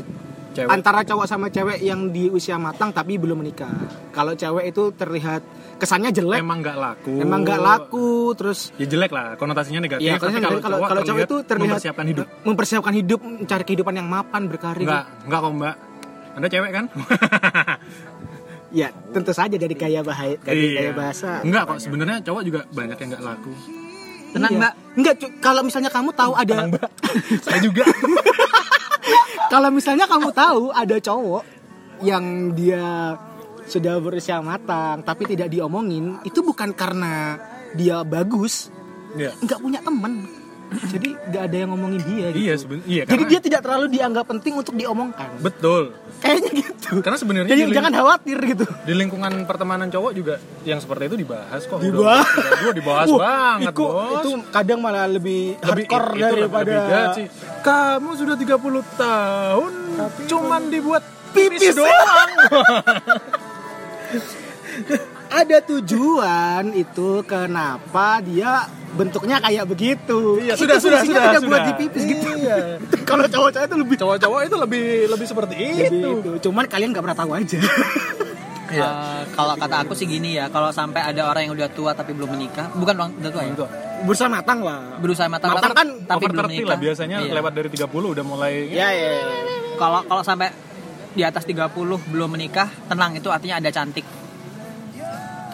cewek? antara cowok sama cewek yang di usia matang tapi belum menikah kalau cewek itu terlihat kesannya jelek emang nggak laku. emang nggak laku terus Ya jelek lah, konotasinya negatif. Iya, Ya, Tapi kalau kalau kalau, cowok terlihat itu terlihat mempersiapkan hidup. mempersiapkan hidup, mencari kehidupan yang mapan, berkarir. Enggak, enggak kok Mbak. Anda cewek kan? Ya, tentu saja dari gaya bahaya, dari Iya. gaya bahasa. Enggak kok, sebenarnya cowok juga banyak yang nggak laku. Tenang, Iya. Mbak. Enggak, cu- kalau misalnya kamu tahu ada Saya juga. kalau misalnya kamu tahu ada cowok yang dia sudah berusia matang tapi tidak diomongin, itu bukan karena dia bagus, Iya. nggak punya temen Jadi nggak ada yang ngomongin dia. gitu. Iya, sebenarnya iya Jadi karena- dia tidak terlalu dianggap penting untuk diomongkan. betul. Kayaknya gitu. Karena sebenarnya Jadi di ling- jangan khawatir gitu. di lingkungan pertemanan cowok juga yang seperti itu dibahas kok. Udah- dibahas udah dua dibahas Wah, banget, Iko, Bos. itu kadang malah lebih, hardcore itu lebih- daripada lebih jahat sih. kamu sudah 30 tahun cuman dibuat Pipis. pipis doang ada tujuan itu kenapa dia bentuknya kayak begitu Iya, Itu sudah, sudah, fungsinya sudah, tidak buat sudah. Iya. di pipis gitu kalau cowok-cowok itu lebih cowok-cowok itu lebih lebih seperti lebih itu itu. cuman kalian nggak pernah tahu aja iya. Eh, kalau kata aku sih gini ya, kalau sampai ada orang yang udah tua tapi belum menikah, bukan orang udah tua ya. bursa matang lah Berusaha matang, Matang tapi- kan tapi over belum 30 menikah. lah biasanya Iya. lewat dari 30 udah mulai ya iya, ya ya. Kalau kalau sampai di atas 30 belum menikah, tenang itu artinya ada cantik.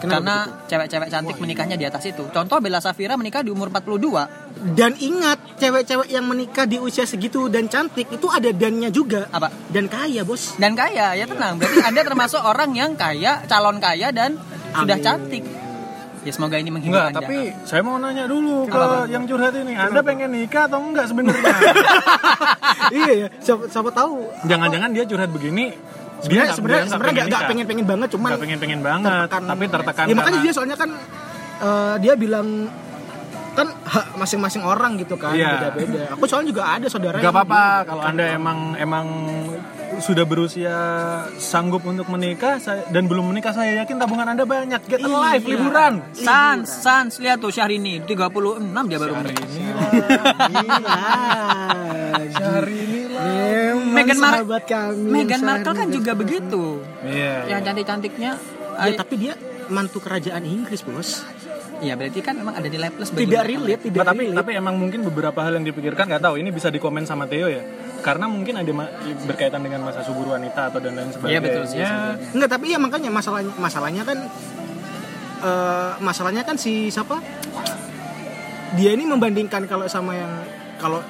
Kenapa iya. Karena cewek-cewek cantik menikahnya di atas itu. Contoh Bella Safira menikah di umur 42. dan ingat cewek-cewek yang menikah di usia segitu dan cantik itu ada dannya juga Apa? dan kaya bos Dan kaya, Iya. ya tenang. Berarti Anda termasuk orang yang kaya, calon kaya dan sudah Amin. cantik. Ya semoga ini menghibur Enggak, Anda. tapi saya mau nanya dulu ke Apa, Bang? yang curhat ini. Anda pengen nikah atau enggak sebenarnya? iya ya siapa, siapa tahu Jangan-jangan dia curhat dia begini, sebenarnya nggak- sebenarnya nggak- nggak nikah. pengen pengen banget cuman Nggak pengen-pengen banget, tertekan. tapi tertekan. ya makanya karena- dia soalnya kan eh, dia bilang kan hak masing-masing orang gitu kan Iya. beda-beda aku soalnya juga ada saudara Gak yang apa-apa bilang, kalau kan, anda emang emang sudah berusia sanggup untuk menikah saya, dan belum menikah saya yakin tabungan anda banyak get Iya. a life liburan Sans, Sans, lihat tuh Syahrini 36 dia baru menikah. hari ini lah Memang Meghan Mar- sahabat kami Meghan Sarah Markle kan Elizabeth. juga begitu. iya Yang cantik-cantiknya ya, tapi dia mantu kerajaan Inggris bos Ya berarti kan memang ada nilai plus bagi tidak mereka. relate tidak Nggak, Nah, tapi relate. tapi emang mungkin beberapa hal yang dipikirkan nggak tahu ini bisa dikomen sama Theo ya karena mungkin ada ma- berkaitan dengan masa subur wanita atau dan lain sebagainya Iya betul sih. sebenarnya. Enggak, tapi ya makanya masalahnya masalahnya kan eh, masalahnya kan si siapa? Dia ini membandingkan kalau sama yang kalau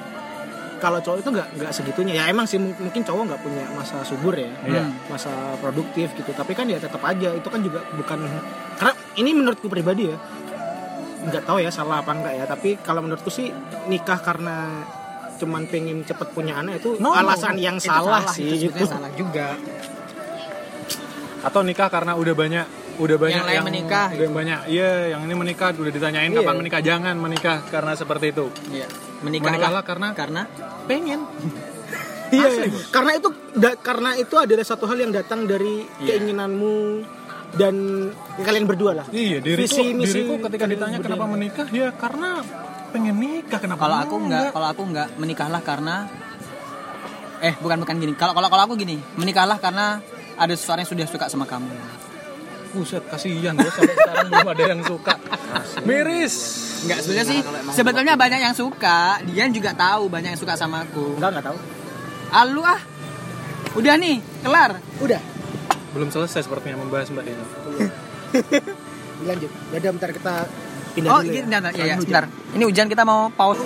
kalau cowok itu nggak nggak segitunya ya emang sih mung- mungkin cowok nggak punya masa subur ya Iya. masa produktif gitu tapi kan ya tetap aja itu kan juga bukan karena ini menurutku pribadi ya nggak tahu ya salah apa enggak ya tapi kalau menurutku sih nikah karena cuman pengen cepet punya anak itu No, no, alasan no. yang Itu salah, salah, sih itu gitu sebetulnya salah juga. atau nikah karena udah banyak udah banyak lain menikah, udah banyak iya yang ini menikah udah ditanyain Iya. kapan menikah jangan menikah karena seperti itu Iya. Menikahlah Menikahlah karena- karena pengen Iya, Asli, iya. Bos. karena itu da- karena itu adalah satu hal yang datang dari keinginanmu dan kalian berdua lah. Iya, diriku, Visi, misi, diriku ketika ditanya kenapa menikah, ya karena pengen nikah. Kenapa? kalau aku enggak, kalau aku enggak menikahlah karena eh bukan bukan gini. Kalau kalau kalau aku gini, menikahlah karena ada seseorang yang sudah suka sama kamu. Buset, kasihan gue sampai sekarang belum ada yang suka. Miris. Enggak sebenarnya sih. Sebetulnya banyak yang suka, Dian juga tahu banyak yang suka sama aku. Enggak, enggak tahu. Alu ah. Udah nih, kelar. Udah, Belum selesai sepertinya membahas Mbak Dina. lanjut. Ya udah bentar kita pindah oh, dulu. ini ya. bentar, ya, ya, Hujan. sebentar. Ini hujan kita mau pause.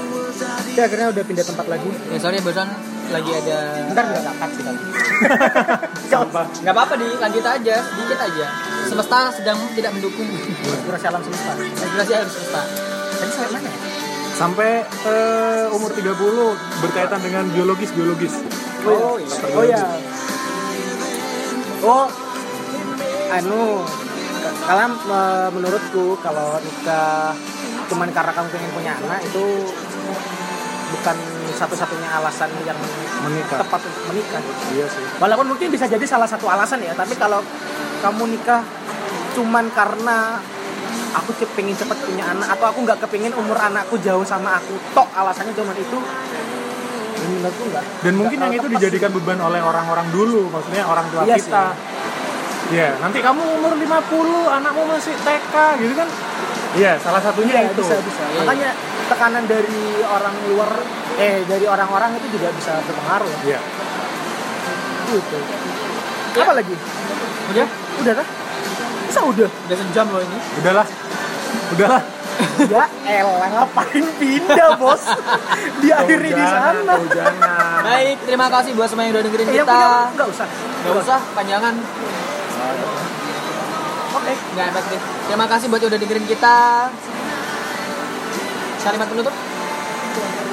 Kita akhirnya udah pindah tempat lagi. Ya sorry bosan lagi ada Bentar nggak dapat kita. Sampah. nggak apa-apa dilanjut aja sedikit aja semesta sedang tidak mendukung Kurang salam semesta. regulasi alam semesta tadi sampai mana ya Sampai eh, umur 30 berkaitan dengan biologis-biologis. Oh, iya. Oh ya. Oh, anu, kalau menurutku kalau nikah cuman karena kamu pengen punya anak itu bukan satu-satunya alasan yang menikah tepat untuk menikah iya sih walaupun mungkin bisa jadi salah satu alasan ya tapi kalau kamu nikah cuman karena aku kepingin cepet punya anak atau aku nggak kepingin umur anakku jauh sama aku tok alasannya cuman itu menurutku nggak dan mungkin nggak yang itu tepat sih. dijadikan beban oleh orang-orang dulu maksudnya orang tua Iya kita ya nanti kamu umur 50 anakmu masih TK gitu kan iya salah satunya Iya, itu bisa bisa Iya. makanya tekanan dari orang luar eh dari orang-orang itu juga bisa berpengaruh iya gitu Ya. apa lagi Udah? udah kah masa udah Udah sejam loh ini. udahlah udahlah ya elah ngapain pindah bos diakhiri di Jangan, sana oh, jangan Baik, terima kasih buat semua yang udah dengerin Eh, yang kita. punya nggak usah Gak usah, panjangan. oke Gak efektif. Terima kasih buat yang udah dengerin kita. Kalimat penutup?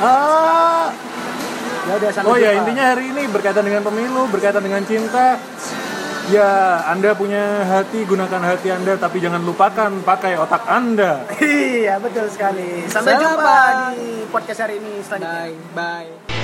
Ah, ya udah sampai oh ya jumpa. intinya hari ini berkaitan dengan pemilu berkaitan dengan cinta ya anda punya hati gunakan hati anda tapi jangan lupakan pakai otak anda iya betul sekali sampai Salam, jumpa Pak. di podcast hari ini selanjutnya Bye. Bye.